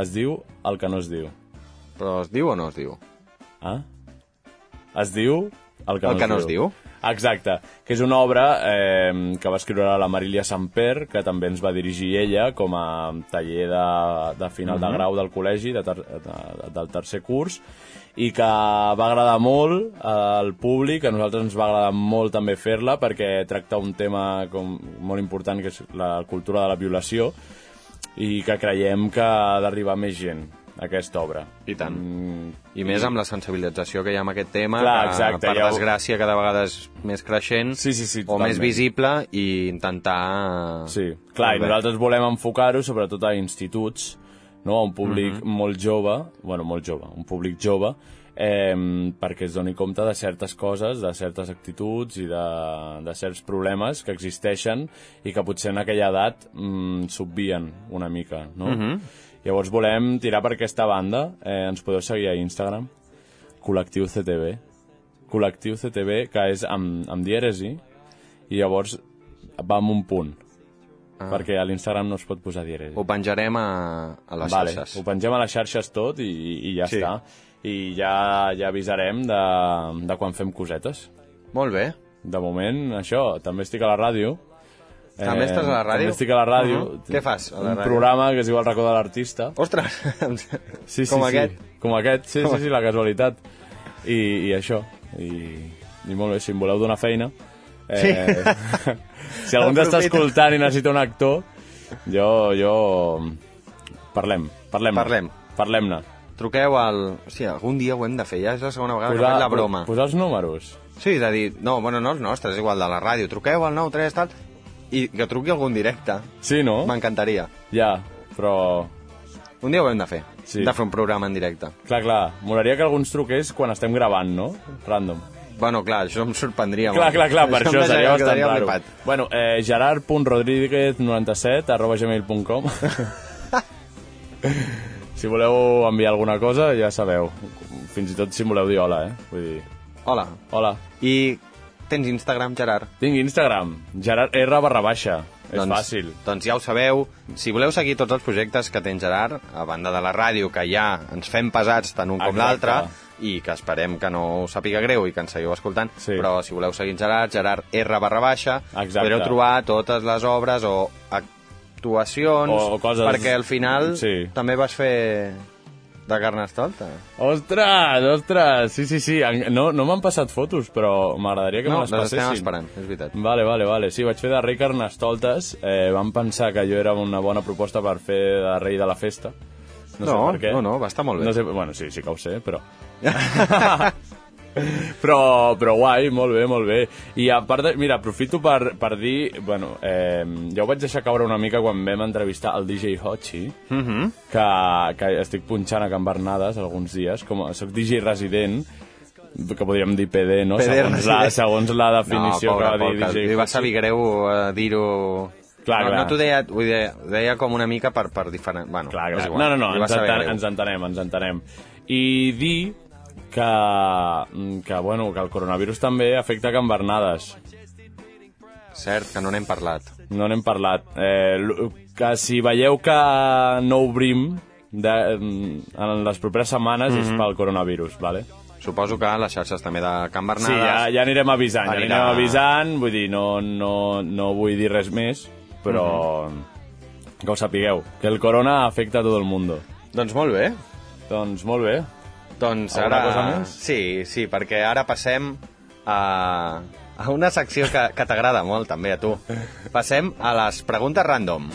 [SPEAKER 3] Es diu El que no es diu.
[SPEAKER 4] Però es diu o no es diu?
[SPEAKER 3] Ah? Es diu... El que,
[SPEAKER 4] El
[SPEAKER 3] no,
[SPEAKER 4] que
[SPEAKER 3] es,
[SPEAKER 4] no
[SPEAKER 3] diu.
[SPEAKER 4] es diu.
[SPEAKER 3] Exacte, que és una obra eh, que va escriure la Marília Samper, que també ens va dirigir ella com a taller de, de final mm
[SPEAKER 4] Mhm.
[SPEAKER 3] -hmm. de grau del col·legi, de ter, de, del tercer curs, i que va agradar molt eh, al públic, a nosaltres ens va agradar molt també fer-la, perquè tracta un tema com, molt important, que és la cultura de la violació, i que creiem que ha d'arribar més gent, aquesta obra.
[SPEAKER 4] I tant. I més amb la sensibilització que hi ha amb aquest tema,
[SPEAKER 3] Mm. Clar,
[SPEAKER 4] que,
[SPEAKER 3] exacte,
[SPEAKER 4] per
[SPEAKER 3] ja ho-
[SPEAKER 4] desgràcia cada vegada és més creixent
[SPEAKER 3] Sí, sí, sí,
[SPEAKER 4] o
[SPEAKER 3] totalment.
[SPEAKER 4] més visible i intentar...
[SPEAKER 3] Sí, clar, i
[SPEAKER 4] Molt bé.
[SPEAKER 3] nosaltres volem enfocar-ho sobretot a instituts, no? a un públic molt jove, bueno, molt jove, un públic jove, eh, perquè es doni compte de certes coses, de certes actituds i de, de certs problemes que existeixen i que potser en aquella edat mm, s'obvien una mica, no? Llavors volem tirar per aquesta banda, eh, ens podeu seguir a Instagram, col·lectiu CTV, col·lectiu CTV, que és amb, amb dièresi, i llavors va amb un punt. Ah. Perquè a l'Instagram no es pot posar dièresi.
[SPEAKER 4] Ho penjarem a, a les
[SPEAKER 3] vale,
[SPEAKER 4] xarxes.
[SPEAKER 3] Ho pengem a les xarxes tot i, i ja
[SPEAKER 4] Sí.
[SPEAKER 3] sí. està. I ja, ja avisarem de, de quan fem cosetes.
[SPEAKER 4] Molt bé.
[SPEAKER 3] De moment, això, també estic a la ràdio. Eh,
[SPEAKER 4] També estàs a la ràdio?
[SPEAKER 3] També estic a la ràdio.
[SPEAKER 4] Mhm. Què fas a la
[SPEAKER 3] Un
[SPEAKER 4] ràdio?
[SPEAKER 3] programa que es diu El racó de l'artista.
[SPEAKER 4] Ostres!
[SPEAKER 3] *laughs* Sí, sí,
[SPEAKER 4] Com
[SPEAKER 3] sí.
[SPEAKER 4] aquest.
[SPEAKER 3] Com aquest, sí, sí, sí, la casualitat. I, i això. I, I molt bé, si em voleu donar feina... Eh, sí. *laughs* si algú ens està
[SPEAKER 4] Aprofita.
[SPEAKER 3] escoltant i necessita un actor, jo... jo... Parlem, parlem.
[SPEAKER 4] Parlem.
[SPEAKER 3] Parlem-ne.
[SPEAKER 4] Truqueu al... Hòstia, algun dia ho hem de fer, ja és la segona vegada Ah, que faig la broma.
[SPEAKER 3] posar els números.
[SPEAKER 4] Sí, de dir, no, bueno, no els nostres, és igual, de la ràdio. Truqueu al 93, tal, i que truqui algun directe.
[SPEAKER 3] Sí, no?
[SPEAKER 4] M'encantaria.
[SPEAKER 3] Ja, però...
[SPEAKER 4] Un dia ho hem de fer,
[SPEAKER 3] Sí.
[SPEAKER 4] de fer un programa en directe.
[SPEAKER 3] Clar, clar, molaria que alguns truqués quan estem gravant, no? Random.
[SPEAKER 4] Bueno, clar, això em sorprendria
[SPEAKER 3] Clar, clar, clar, per això
[SPEAKER 4] em
[SPEAKER 3] seria
[SPEAKER 4] deixaria-
[SPEAKER 3] bastant
[SPEAKER 4] quedaria
[SPEAKER 3] raro.
[SPEAKER 4] flipat.
[SPEAKER 3] Bueno, eh, gerard.rodríguez97 arroba
[SPEAKER 4] *laughs*
[SPEAKER 3] gmail.com Si voleu enviar alguna cosa, ja sabeu. Fins i tot si em voleu dir hola, eh? Vull dir,
[SPEAKER 4] Hola.
[SPEAKER 3] hola.
[SPEAKER 4] I tens Instagram, Gerard?
[SPEAKER 3] Tinc Instagram, gerard r barra baixa. És fàcil.
[SPEAKER 4] Doncs ja ho sabeu. Si voleu seguir tots els projectes que té en Gerard, a banda de la ràdio, que ja ens fem pesats tant un com
[SPEAKER 3] Exacte.
[SPEAKER 4] l'altre, i que esperem que no us sàpiga greu i que ens seguiu escoltant,
[SPEAKER 3] Sí.
[SPEAKER 4] però si voleu seguir en Gerard, Gerard R barra baixa,
[SPEAKER 3] Exacte.
[SPEAKER 4] podreu trobar totes les obres o actuacions,
[SPEAKER 3] O- o coses-
[SPEAKER 4] perquè al final
[SPEAKER 3] Sí.
[SPEAKER 4] també vas fer de carnestolta.
[SPEAKER 3] Ostres, ostres, sí, sí, sí. en- No, no m'han passat fotos, però m'agradaria que
[SPEAKER 4] No,
[SPEAKER 3] me les
[SPEAKER 4] les
[SPEAKER 3] passessin.
[SPEAKER 4] estem esperant, és veritat.
[SPEAKER 3] Vale, vale, vale. Sí, vaig fer de rei Carnestoltes. Eh, van pensar que jo era una bona proposta per fer de rei de la festa. No, sé
[SPEAKER 4] No,
[SPEAKER 3] per què.
[SPEAKER 4] no, no, va estar molt bé.
[SPEAKER 3] No sé, bueno, sí, sí que ho sé, però... *laughs* però, però guai, molt bé, molt bé. I a part de, mira, aprofito per, per dir... Bueno, eh, ja ho vaig deixar caure una mica quan vam entrevistar el DJ Hochi, mm
[SPEAKER 4] Mhm.
[SPEAKER 3] -hmm. que, que estic punxant a Can Bernades alguns dies, com a, soc DJ resident, que podríem dir PD, no?
[SPEAKER 4] PD
[SPEAKER 3] segons, la,
[SPEAKER 4] resident.
[SPEAKER 3] segons la definició
[SPEAKER 4] no, pobre,
[SPEAKER 3] que va dir
[SPEAKER 4] pobre,
[SPEAKER 3] DJ
[SPEAKER 4] Li va
[SPEAKER 3] Hochi.
[SPEAKER 4] saber greu eh, dir-ho...
[SPEAKER 3] Clar,
[SPEAKER 4] no,
[SPEAKER 3] clar.
[SPEAKER 4] No t'ho deia, ho deia, ho deia com una mica per, per diferent... Bueno,
[SPEAKER 3] Clar,
[SPEAKER 4] és
[SPEAKER 3] clar.
[SPEAKER 4] igual.
[SPEAKER 3] No, no, no,
[SPEAKER 4] Li va
[SPEAKER 3] ens,
[SPEAKER 4] saber
[SPEAKER 3] enten,
[SPEAKER 4] greu.
[SPEAKER 3] ens entenem, ens entenem. I dir que, que, bueno, que el coronavirus també afecta Can Bernades.
[SPEAKER 4] Cert, que no n'hem parlat.
[SPEAKER 3] No n'hem parlat. Eh, l- que si veieu que no obrim de, mm, en les properes setmanes mm -hmm.
[SPEAKER 4] Mhm.
[SPEAKER 3] és pel coronavirus, vale?
[SPEAKER 4] Suposo que les xarxes també de Can
[SPEAKER 3] Sí,
[SPEAKER 4] Bernades...
[SPEAKER 3] ja, ja anirem avisant, ja
[SPEAKER 4] Anirà-
[SPEAKER 3] anirem avisant, vull dir, no, no, no vull dir res més, però
[SPEAKER 4] Mhm.
[SPEAKER 3] que ho sapigueu, que el corona afecta a tot el mundo.
[SPEAKER 4] Doncs molt bé.
[SPEAKER 3] Doncs molt bé,
[SPEAKER 4] Doncs
[SPEAKER 3] Alguna
[SPEAKER 4] ara...
[SPEAKER 3] cosa més?
[SPEAKER 4] Sí, sí, perquè ara passem a, a una secció que, que t'agrada molt, també, a tu. Passem a les preguntes random.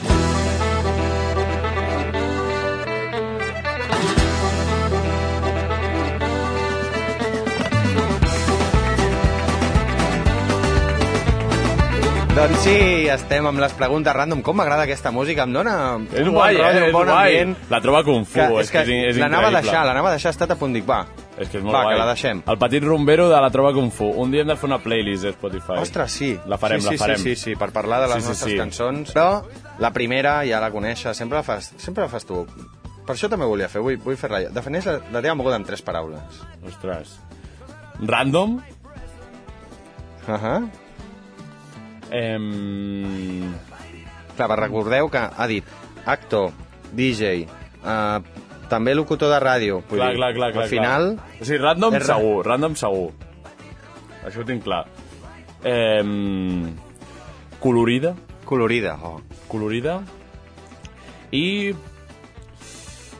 [SPEAKER 4] Doncs sí, estem amb les preguntes random. Com m'agrada aquesta música, em dóna...
[SPEAKER 3] És
[SPEAKER 4] un
[SPEAKER 3] guai,
[SPEAKER 4] bon
[SPEAKER 3] eh?
[SPEAKER 4] rotllo, un
[SPEAKER 3] És
[SPEAKER 4] bon
[SPEAKER 3] guai.
[SPEAKER 4] ambient.
[SPEAKER 3] La troba Kung Fu,
[SPEAKER 4] Que,
[SPEAKER 3] és,
[SPEAKER 4] és que
[SPEAKER 3] és, és
[SPEAKER 4] l'anava a
[SPEAKER 3] increïble.
[SPEAKER 4] deixar, l'anava a deixar, ha estat a punt dic, va,
[SPEAKER 3] És que és molt
[SPEAKER 4] va,
[SPEAKER 3] guai. Ah,
[SPEAKER 4] que la deixem.
[SPEAKER 3] El petit rumbero de la troba Kung Fu. Un dia hem de fer una playlist de Spotify.
[SPEAKER 4] Ostres, sí.
[SPEAKER 3] La farem, la
[SPEAKER 4] sí, sí,
[SPEAKER 3] farem.
[SPEAKER 4] Sí, sí, sí, per parlar de les
[SPEAKER 3] Sí, sí,
[SPEAKER 4] nostres
[SPEAKER 3] sí.
[SPEAKER 4] cançons. Però la primera ja la coneixes, sempre la fas, sempre la fas tu. Per això també ho volia fer, vull, vull fer-la. jo. Defineix la, la teva moguda amb tres paraules.
[SPEAKER 3] Ostres. Random.
[SPEAKER 4] Uh -huh.
[SPEAKER 3] Ehm...
[SPEAKER 4] Clar, però recordeu que ha dit actor, DJ, uh, també locutor de ràdio. Vull
[SPEAKER 3] Clar,
[SPEAKER 4] dir,
[SPEAKER 3] clar, clar, clar.
[SPEAKER 4] Al final,
[SPEAKER 3] Clar. O sigui, random
[SPEAKER 4] és ra-
[SPEAKER 3] segur, random segur. Això ho tinc clar. Ehm... Colorida.
[SPEAKER 4] colorida. Oh.
[SPEAKER 3] Colorida. I...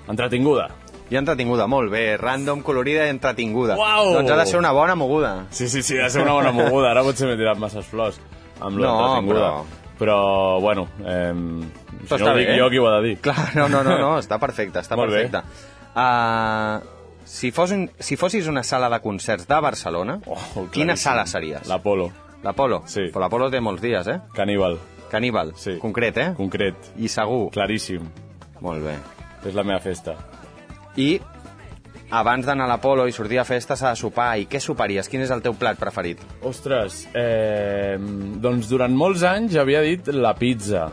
[SPEAKER 3] Entretinguda.
[SPEAKER 4] I entretinguda, molt bé. Random, colorida i entretinguda.
[SPEAKER 3] Uau!
[SPEAKER 4] Doncs ha de ser una bona moguda.
[SPEAKER 3] Sí, sí, sí, ha de ser una bona moguda. Ara potser m'he tirat masses flors amb
[SPEAKER 4] No,
[SPEAKER 3] l'entretinguda. però... però, bueno, ehm...
[SPEAKER 4] Però
[SPEAKER 3] si no
[SPEAKER 4] està
[SPEAKER 3] ho dic
[SPEAKER 4] bé, eh?
[SPEAKER 3] jo, qui ho ha de dir?
[SPEAKER 4] Clar, no, no,
[SPEAKER 3] *laughs*
[SPEAKER 4] no, no està perfecte, està
[SPEAKER 3] Molt bé.
[SPEAKER 4] perfecte. Uh, si, fos un, si fossis una sala de concerts de Barcelona,
[SPEAKER 3] Oh,
[SPEAKER 4] quina
[SPEAKER 3] claríssim.
[SPEAKER 4] sala series?
[SPEAKER 3] L'Apolo.
[SPEAKER 4] L'Apolo?
[SPEAKER 3] Sí.
[SPEAKER 4] Però l'Apolo té molts dies, eh?
[SPEAKER 3] Caníbal.
[SPEAKER 4] Caníbal,
[SPEAKER 3] Sí.
[SPEAKER 4] concret, eh?
[SPEAKER 3] Concret.
[SPEAKER 4] I segur.
[SPEAKER 3] Claríssim.
[SPEAKER 4] Molt bé.
[SPEAKER 3] És la meva festa.
[SPEAKER 4] I abans d'anar a l'Apolo i sortir a festa s'ha de sopar. I què soparies? Quin és el teu plat preferit?
[SPEAKER 3] Ostres, eh, doncs durant molts anys havia dit la pizza.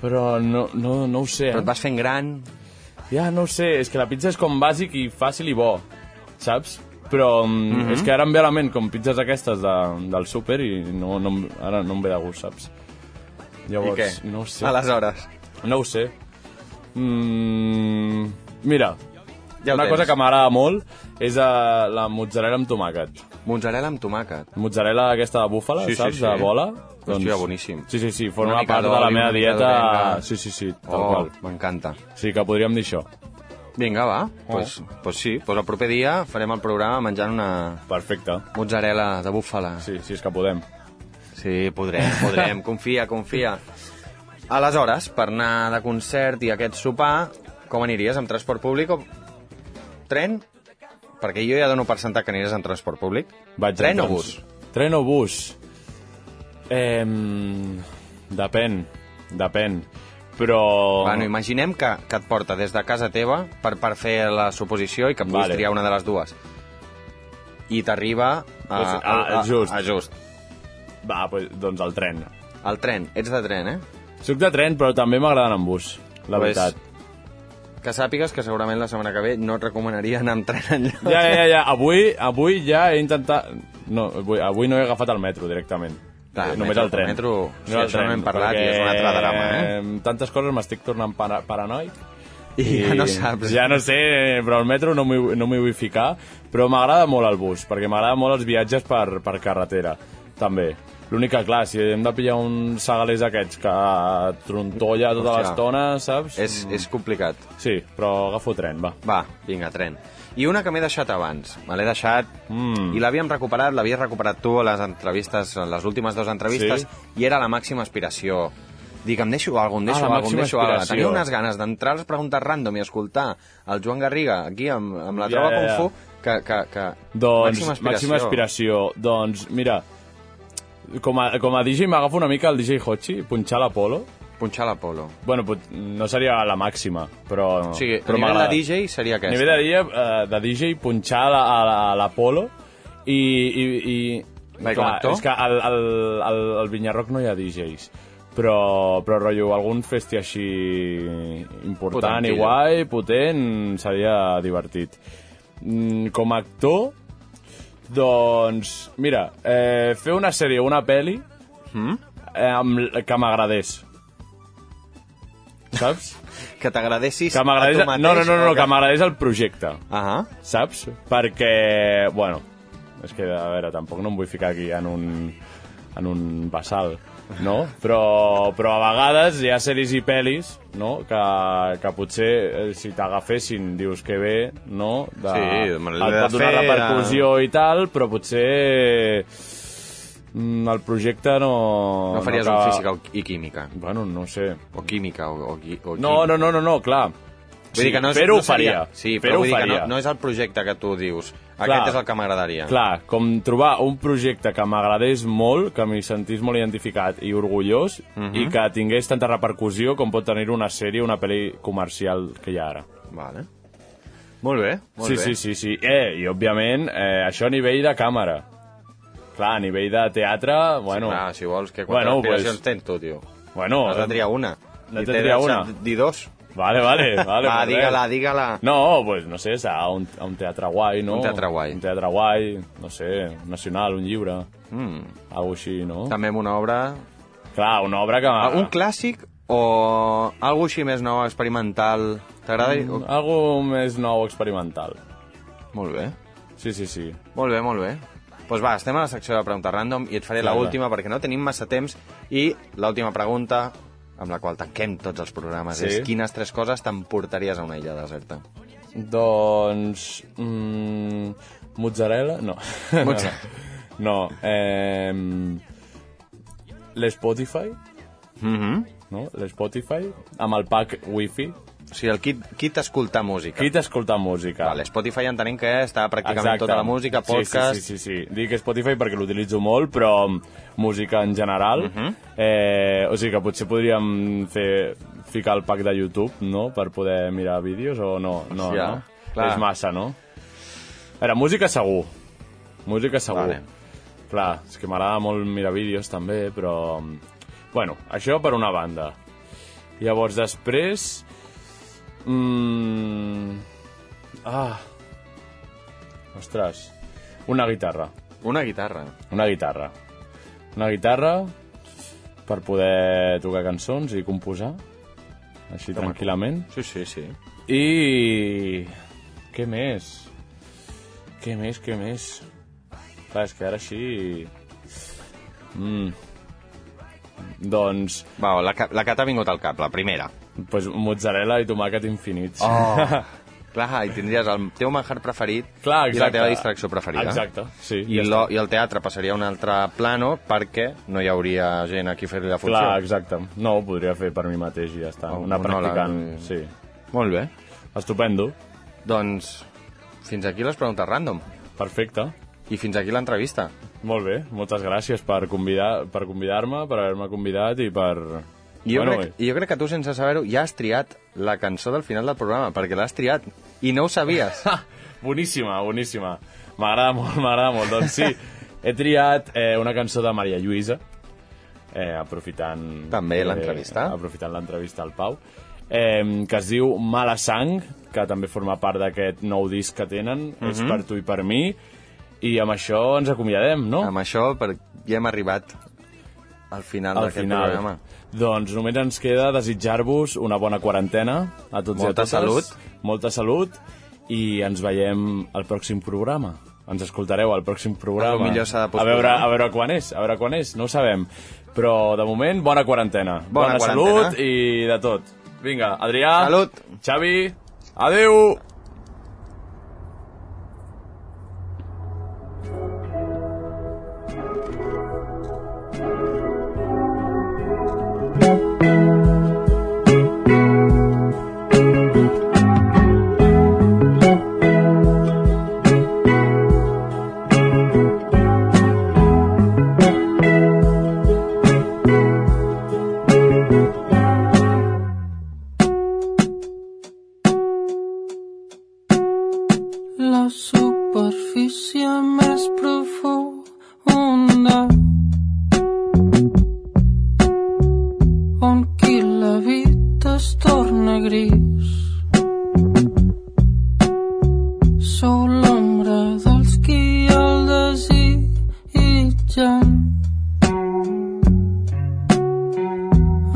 [SPEAKER 3] Però no, no, no ho sé.
[SPEAKER 4] Però et
[SPEAKER 3] Eh?
[SPEAKER 4] vas fent gran...
[SPEAKER 3] Ja, no ho sé. És que la pizza és com bàsic i fàcil i bo, saps? Però mm
[SPEAKER 4] Mhm.
[SPEAKER 3] -hmm. és que ara em ve a la ment com pizzas aquestes de, del súper i no, no, em- ara no em ve de gust, saps? Llavors,
[SPEAKER 4] I què?
[SPEAKER 3] no ho sé.
[SPEAKER 4] Aleshores.
[SPEAKER 3] No ho sé. Mm, mira,
[SPEAKER 4] Ja ho
[SPEAKER 3] una
[SPEAKER 4] tens.
[SPEAKER 3] cosa que m'agrada molt és eh, la mozzarella amb tomàquet.
[SPEAKER 4] Mozzarella amb tomàquet.
[SPEAKER 3] mozzarella aquesta de búfala,
[SPEAKER 4] Sí, sí,
[SPEAKER 3] saps?
[SPEAKER 4] sí.
[SPEAKER 3] De bola. Doncs
[SPEAKER 4] Hòstia, boníssim.
[SPEAKER 3] Sí, sí, sí, forma
[SPEAKER 4] Una
[SPEAKER 3] una
[SPEAKER 4] mica
[SPEAKER 3] part de la
[SPEAKER 4] d'oli,
[SPEAKER 3] meva
[SPEAKER 4] una mica
[SPEAKER 3] dieta...
[SPEAKER 4] d'orella.
[SPEAKER 3] Sí, sí, sí, tal oh.
[SPEAKER 4] Oh,
[SPEAKER 3] qual.
[SPEAKER 4] m'encanta.
[SPEAKER 3] Sí, que podríem dir això.
[SPEAKER 4] Vinga, va.
[SPEAKER 3] Oh.
[SPEAKER 4] Doncs pues, pues sí, pues el proper dia farem el programa menjant una
[SPEAKER 3] Perfecte.
[SPEAKER 4] mozzarella de búfala. Sí,
[SPEAKER 3] Sí, sí, és que podem.
[SPEAKER 4] sí podrem,
[SPEAKER 3] *laughs*
[SPEAKER 4] podrem. confia, confia. Aleshores, per anar de concert i aquest sopar, com aniries? Amb transport públic o tren? Perquè jo ja dono per sentat que aniràs en transport públic.
[SPEAKER 3] Vaig
[SPEAKER 4] tren
[SPEAKER 3] en
[SPEAKER 4] o
[SPEAKER 3] trans-
[SPEAKER 4] bus?
[SPEAKER 3] Tren o bus? Eh, depèn, depèn. Però...
[SPEAKER 4] Bueno, imaginem que, que et porta des de casa teva per, per fer la suposició i que puguis
[SPEAKER 3] Vale.
[SPEAKER 4] triar una de les dues. i t'arriba eh, a,
[SPEAKER 3] Doncs, ah, just.
[SPEAKER 4] a just.
[SPEAKER 3] Va, pues, doncs el tren.
[SPEAKER 4] El tren. Ets de tren, eh?
[SPEAKER 3] Soc de tren, però també m'agraden en bus, la
[SPEAKER 4] Pues-
[SPEAKER 3] veritat.
[SPEAKER 4] Que sàpigues que segurament la setmana que ve no et recomanaria anar amb tren enlloc.
[SPEAKER 3] Ja, ja, ja,
[SPEAKER 4] *laughs*
[SPEAKER 3] ja. Avui, avui ja he intentat... No, avui, avui no he agafat el metro directament.
[SPEAKER 4] Clar,
[SPEAKER 3] Eh,
[SPEAKER 4] Ah, el
[SPEAKER 3] Només
[SPEAKER 4] metro-
[SPEAKER 3] el tren.
[SPEAKER 4] el metro-
[SPEAKER 3] Només
[SPEAKER 4] sí, això n'hem parlat i és un altre drama, eh?
[SPEAKER 3] em, Tantes coses m'estic tornant para paranoic.
[SPEAKER 4] I ja no saps.
[SPEAKER 3] Ja no sé, però el metro no m'hi vull- no m'hi vull ficar. Però m'agrada molt el bus, perquè m'agrada molt els viatges per, per carretera, també. L'únic que, clar, si hem de pillar uns segalers aquests que trontolla tota
[SPEAKER 4] Hòstia.
[SPEAKER 3] l'estona, saps?
[SPEAKER 4] És, és complicat.
[SPEAKER 3] Sí, però agafo tren, va.
[SPEAKER 4] Va, vinga, tren. I una que m'he deixat abans. Me l'he deixat mm. i l'havíem recuperat, l'havies recuperat tu a les entrevistes, a les últimes dues entrevistes, sí. i era la màxima aspiració. Dic, em deixo alguna cosa,
[SPEAKER 3] Ah,
[SPEAKER 4] em deixo
[SPEAKER 3] la
[SPEAKER 4] alguna cosa, em
[SPEAKER 3] màxima
[SPEAKER 4] deixo alguna cosa.
[SPEAKER 3] aspiració.
[SPEAKER 4] Tenia unes ganes d'entrar a les preguntes random i escoltar el Joan Garriga aquí amb, amb la
[SPEAKER 3] Ja,
[SPEAKER 4] troba
[SPEAKER 3] ja,
[SPEAKER 4] yeah,
[SPEAKER 3] ja.
[SPEAKER 4] Kung Fu, que, que, que...
[SPEAKER 3] Doncs, màxima aspiració. Màxima aspiració. Doncs, mira, com a, com a DJ m'agafo una mica el DJ Hochi, punxar l'Apolo.
[SPEAKER 4] Punxar l'Apolo.
[SPEAKER 3] Bueno, pot, no seria la màxima, però...
[SPEAKER 4] O sigui,
[SPEAKER 3] però
[SPEAKER 4] a nivell de
[SPEAKER 3] m'agrada.
[SPEAKER 4] DJ seria
[SPEAKER 3] A
[SPEAKER 4] aquesta.
[SPEAKER 3] nivell de DJ, eh, de DJ punxar la- a la- a l'Apolo i... i, i
[SPEAKER 4] Va, i com a actor?
[SPEAKER 3] és que al, al, al, al Vinyarroc no hi ha DJs, però, però rotllo, algun festi així important i
[SPEAKER 4] Potentillo.
[SPEAKER 3] guai, potent, seria divertit. Mm, com a actor, doncs, mira, eh, fer una sèrie o una pel·li
[SPEAKER 4] Mm-hmm.
[SPEAKER 3] eh, amb, que m'agradés.
[SPEAKER 4] *laughs*
[SPEAKER 3] Saps?
[SPEAKER 4] Que t'agradessis
[SPEAKER 3] Que m'agradés...
[SPEAKER 4] a tu mateix.
[SPEAKER 3] No, no, no, no,
[SPEAKER 4] o
[SPEAKER 3] que m'agradés el projecte,
[SPEAKER 4] Ahà.
[SPEAKER 3] saps? Perquè, bueno, és que, a veure, tampoc no em vull ficar aquí en un, en un basal, no? Però, però a vegades hi ha sèries i pel·lis, no?, que, que potser eh, si t'agafessin dius que bé, no?, de,
[SPEAKER 4] Sí, me
[SPEAKER 3] et
[SPEAKER 4] l'he de
[SPEAKER 3] pot donar
[SPEAKER 4] fer,
[SPEAKER 3] repercussió i tal, però potser mm, el projecte no...
[SPEAKER 4] No faries un
[SPEAKER 3] acaba-
[SPEAKER 4] física o- i química.
[SPEAKER 3] Bueno, no ho sé.
[SPEAKER 4] O química o, o, qui- o
[SPEAKER 3] No, no, no, no, no clar.
[SPEAKER 4] Vull dir que no és,
[SPEAKER 3] fer-ho
[SPEAKER 4] no seria-
[SPEAKER 3] faria.
[SPEAKER 4] Sí,
[SPEAKER 3] Fer-ho
[SPEAKER 4] però vull dir que no,
[SPEAKER 3] faria.
[SPEAKER 4] no és el projecte que tu dius. Aquest
[SPEAKER 3] Clar.
[SPEAKER 4] és el que m'agradaria.
[SPEAKER 3] Clar, com trobar un projecte que m'agradés molt, que m'hi sentís molt identificat i orgullós,
[SPEAKER 4] Mhm.
[SPEAKER 3] i que tingués tanta repercussió com pot tenir una sèrie o una pel·li comercial que hi ha ara.
[SPEAKER 4] Vale. Molt bé, molt
[SPEAKER 3] sí,
[SPEAKER 4] bé.
[SPEAKER 3] sí, sí, sí. Eh, I, òbviament, eh, això a nivell de càmera. Clar, a nivell de teatre, bueno...
[SPEAKER 4] Clar, si vols, que quantes
[SPEAKER 3] Bueno,
[SPEAKER 4] aspiracions
[SPEAKER 3] pues-
[SPEAKER 4] tens tu, tio?
[SPEAKER 3] Bueno,
[SPEAKER 4] Has de triar una.
[SPEAKER 3] N'has de
[SPEAKER 4] I t'he
[SPEAKER 3] triar
[SPEAKER 4] deixat
[SPEAKER 3] una.
[SPEAKER 4] Dir dos.
[SPEAKER 3] Vale,
[SPEAKER 4] *laughs*
[SPEAKER 3] vale, vale.
[SPEAKER 4] Va,
[SPEAKER 3] molt bé.
[SPEAKER 4] digue-la, digue-la.
[SPEAKER 3] No, pues no sé, serà un, un teatre guai, no?
[SPEAKER 4] Un teatre guai.
[SPEAKER 3] Un teatre guai, no sé, un nacional, un llibre,
[SPEAKER 4] Mm.
[SPEAKER 3] alguna així, no?
[SPEAKER 4] També amb una obra...
[SPEAKER 3] Clar, una obra que...
[SPEAKER 4] Ah. Un clàssic o alguna així més nou, experimental? T'agrada? Mm.
[SPEAKER 3] Algo més nou experimental.
[SPEAKER 4] Molt bé.
[SPEAKER 3] Sí, sí, sí.
[SPEAKER 4] Molt bé, molt bé. Doncs pues va, estem a la secció de preguntes random i et faré
[SPEAKER 3] Vinga.
[SPEAKER 4] l'última perquè no tenim massa temps i l'última pregunta amb la qual tanquem tots els programes
[SPEAKER 3] Sí.
[SPEAKER 4] és quines tres coses t'emportaries a una illa deserta?
[SPEAKER 3] Doncs... Mm, mozzarella? No.
[SPEAKER 4] Mozza-
[SPEAKER 3] *laughs* no. Eh, L'Spotify,
[SPEAKER 4] Mm -hmm.
[SPEAKER 3] no? L'Spotify, amb el pack wifi.
[SPEAKER 4] O sigui, el kit, kit escoltar música.
[SPEAKER 3] Qui t'escolta música?
[SPEAKER 4] Vale, Spotify entenem que està pràcticament tota la música,
[SPEAKER 3] Sí,
[SPEAKER 4] podcast...
[SPEAKER 3] Sí, sí, sí, sí. Dic Spotify perquè l'utilitzo molt, però música en general.
[SPEAKER 4] Mhm.
[SPEAKER 3] eh, o sigui que potser podríem fer, ficar el pack de YouTube, no?, per poder mirar vídeos o no. no,
[SPEAKER 4] Hòstia,
[SPEAKER 3] no?
[SPEAKER 4] clar.
[SPEAKER 3] És massa, no? A veure, música segur. Música segur.
[SPEAKER 4] Vale.
[SPEAKER 3] Clar, és que m'agrada molt mirar vídeos també, però... Bueno, això per una banda. Llavors, després... Mm... Ah... Ostres. Una guitarra.
[SPEAKER 4] Una guitarra.
[SPEAKER 3] Una guitarra. Una guitarra per poder tocar cançons i composar. Així tranquil·lament.
[SPEAKER 4] Sí, sí, sí.
[SPEAKER 3] I... Què més? Què més, què més? Clar, és que ara així... Mm. Doncs,
[SPEAKER 4] Va, la, que- la que t'ha vingut al cap, la primera.
[SPEAKER 3] pues, mozzarella i tomàquet infinits.
[SPEAKER 4] Oh. Clar, i tindries el teu manjar preferit
[SPEAKER 3] *laughs* Clar,
[SPEAKER 4] i la
[SPEAKER 3] exacte.
[SPEAKER 4] teva distracció preferida.
[SPEAKER 3] Exacte, sí.
[SPEAKER 4] I,
[SPEAKER 3] ja
[SPEAKER 4] lo,
[SPEAKER 3] està.
[SPEAKER 4] I el teatre passaria a un altre plano perquè no hi hauria gent a qui fer-li la funció.
[SPEAKER 3] Clar, exacte. No, ho podria fer per mi mateix i ja està.
[SPEAKER 4] Un
[SPEAKER 3] Anar
[SPEAKER 4] monòleg,
[SPEAKER 3] practicant,
[SPEAKER 4] eh.
[SPEAKER 3] sí.
[SPEAKER 4] Molt bé.
[SPEAKER 3] Estupendo.
[SPEAKER 4] Doncs fins aquí les preguntes random.
[SPEAKER 3] Perfecte.
[SPEAKER 4] I fins aquí l'entrevista.
[SPEAKER 3] Molt bé, moltes gràcies per convidar-me, per, convidar per haver-me convidat i per,
[SPEAKER 4] Jo,
[SPEAKER 3] Bueno,
[SPEAKER 4] bueno, crec, jo crec que tu, sense saber-ho, ja has triat la cançó del final del programa, perquè l'has triat i no ho sabies.
[SPEAKER 3] Ha! Boníssima, boníssima. M'agrada molt, m'agrada molt. Doncs sí, he triat eh, una cançó de Maria Lluïsa, eh, aprofitant...
[SPEAKER 4] També l'entrevista.
[SPEAKER 3] Eh, aprofitant l'entrevista al Pau, eh, que es diu Mala Sang, que també forma part d'aquest nou disc que tenen, és
[SPEAKER 4] Mhm.
[SPEAKER 3] per tu i per mi, i amb això ens acomiadem, *laughs* no?
[SPEAKER 4] Amb això per, ja hem arribat al final
[SPEAKER 3] al
[SPEAKER 4] d'aquest
[SPEAKER 3] final.
[SPEAKER 4] programa.
[SPEAKER 3] Doncs només ens queda desitjar-vos una bona quarantena a tots
[SPEAKER 4] Molta
[SPEAKER 3] i a totes.
[SPEAKER 4] salut.
[SPEAKER 3] Molta salut. I ens veiem al pròxim programa. Ens escoltareu al pròxim programa.
[SPEAKER 4] A lo millor s'ha de
[SPEAKER 3] a veure,
[SPEAKER 4] posposar.
[SPEAKER 3] a veure quan és, a veure quan és, no ho sabem. Però, de moment, bona quarantena.
[SPEAKER 4] Bona quarantena.
[SPEAKER 3] salut i de tot. Vinga, Adrià.
[SPEAKER 4] Salut.
[SPEAKER 3] Xavi. Adeu.
[SPEAKER 6] La superfície més profunda on qui l'habita es torna gris Sou l'ombra dels qui el desitgen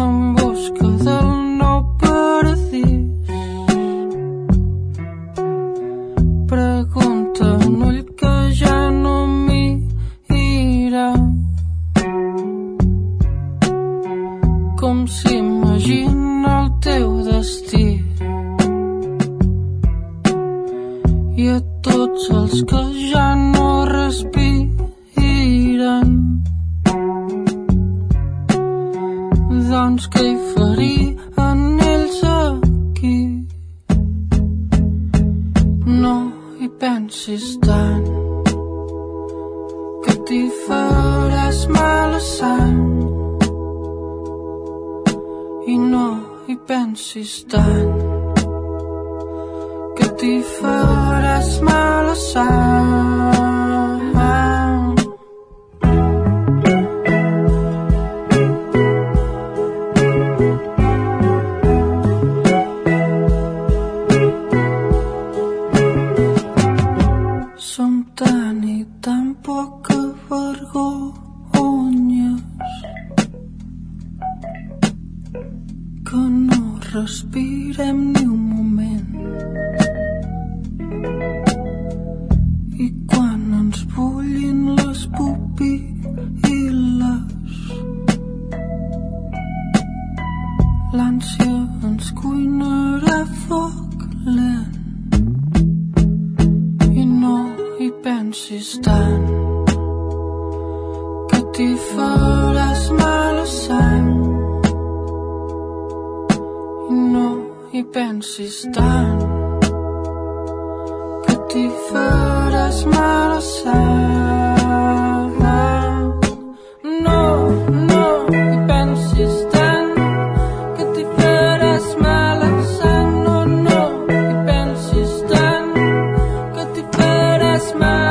[SPEAKER 6] en busca del nou paradís pregunta un ull que ja no mira com s'imagina el teu destí i a tots els que ja no respiren doncs què hi farien ells aquí no hi pensis tant que t'hi faràs mala sang i no hi pensis tant que t'hi faràs mala sang Som tan i tan poca vergonyes que no respirem ni un moment. I quan ens bullin les pupil·les l'ànsia ens cuinarà foc lent i no hi pensis tant que t'hi faràs mala sang i no hi pensis tant que t'hi faràs mala sang no, no hi pensis tant que t'hi faràs mala sang no, no hi pensis tant que t'hi faràs mal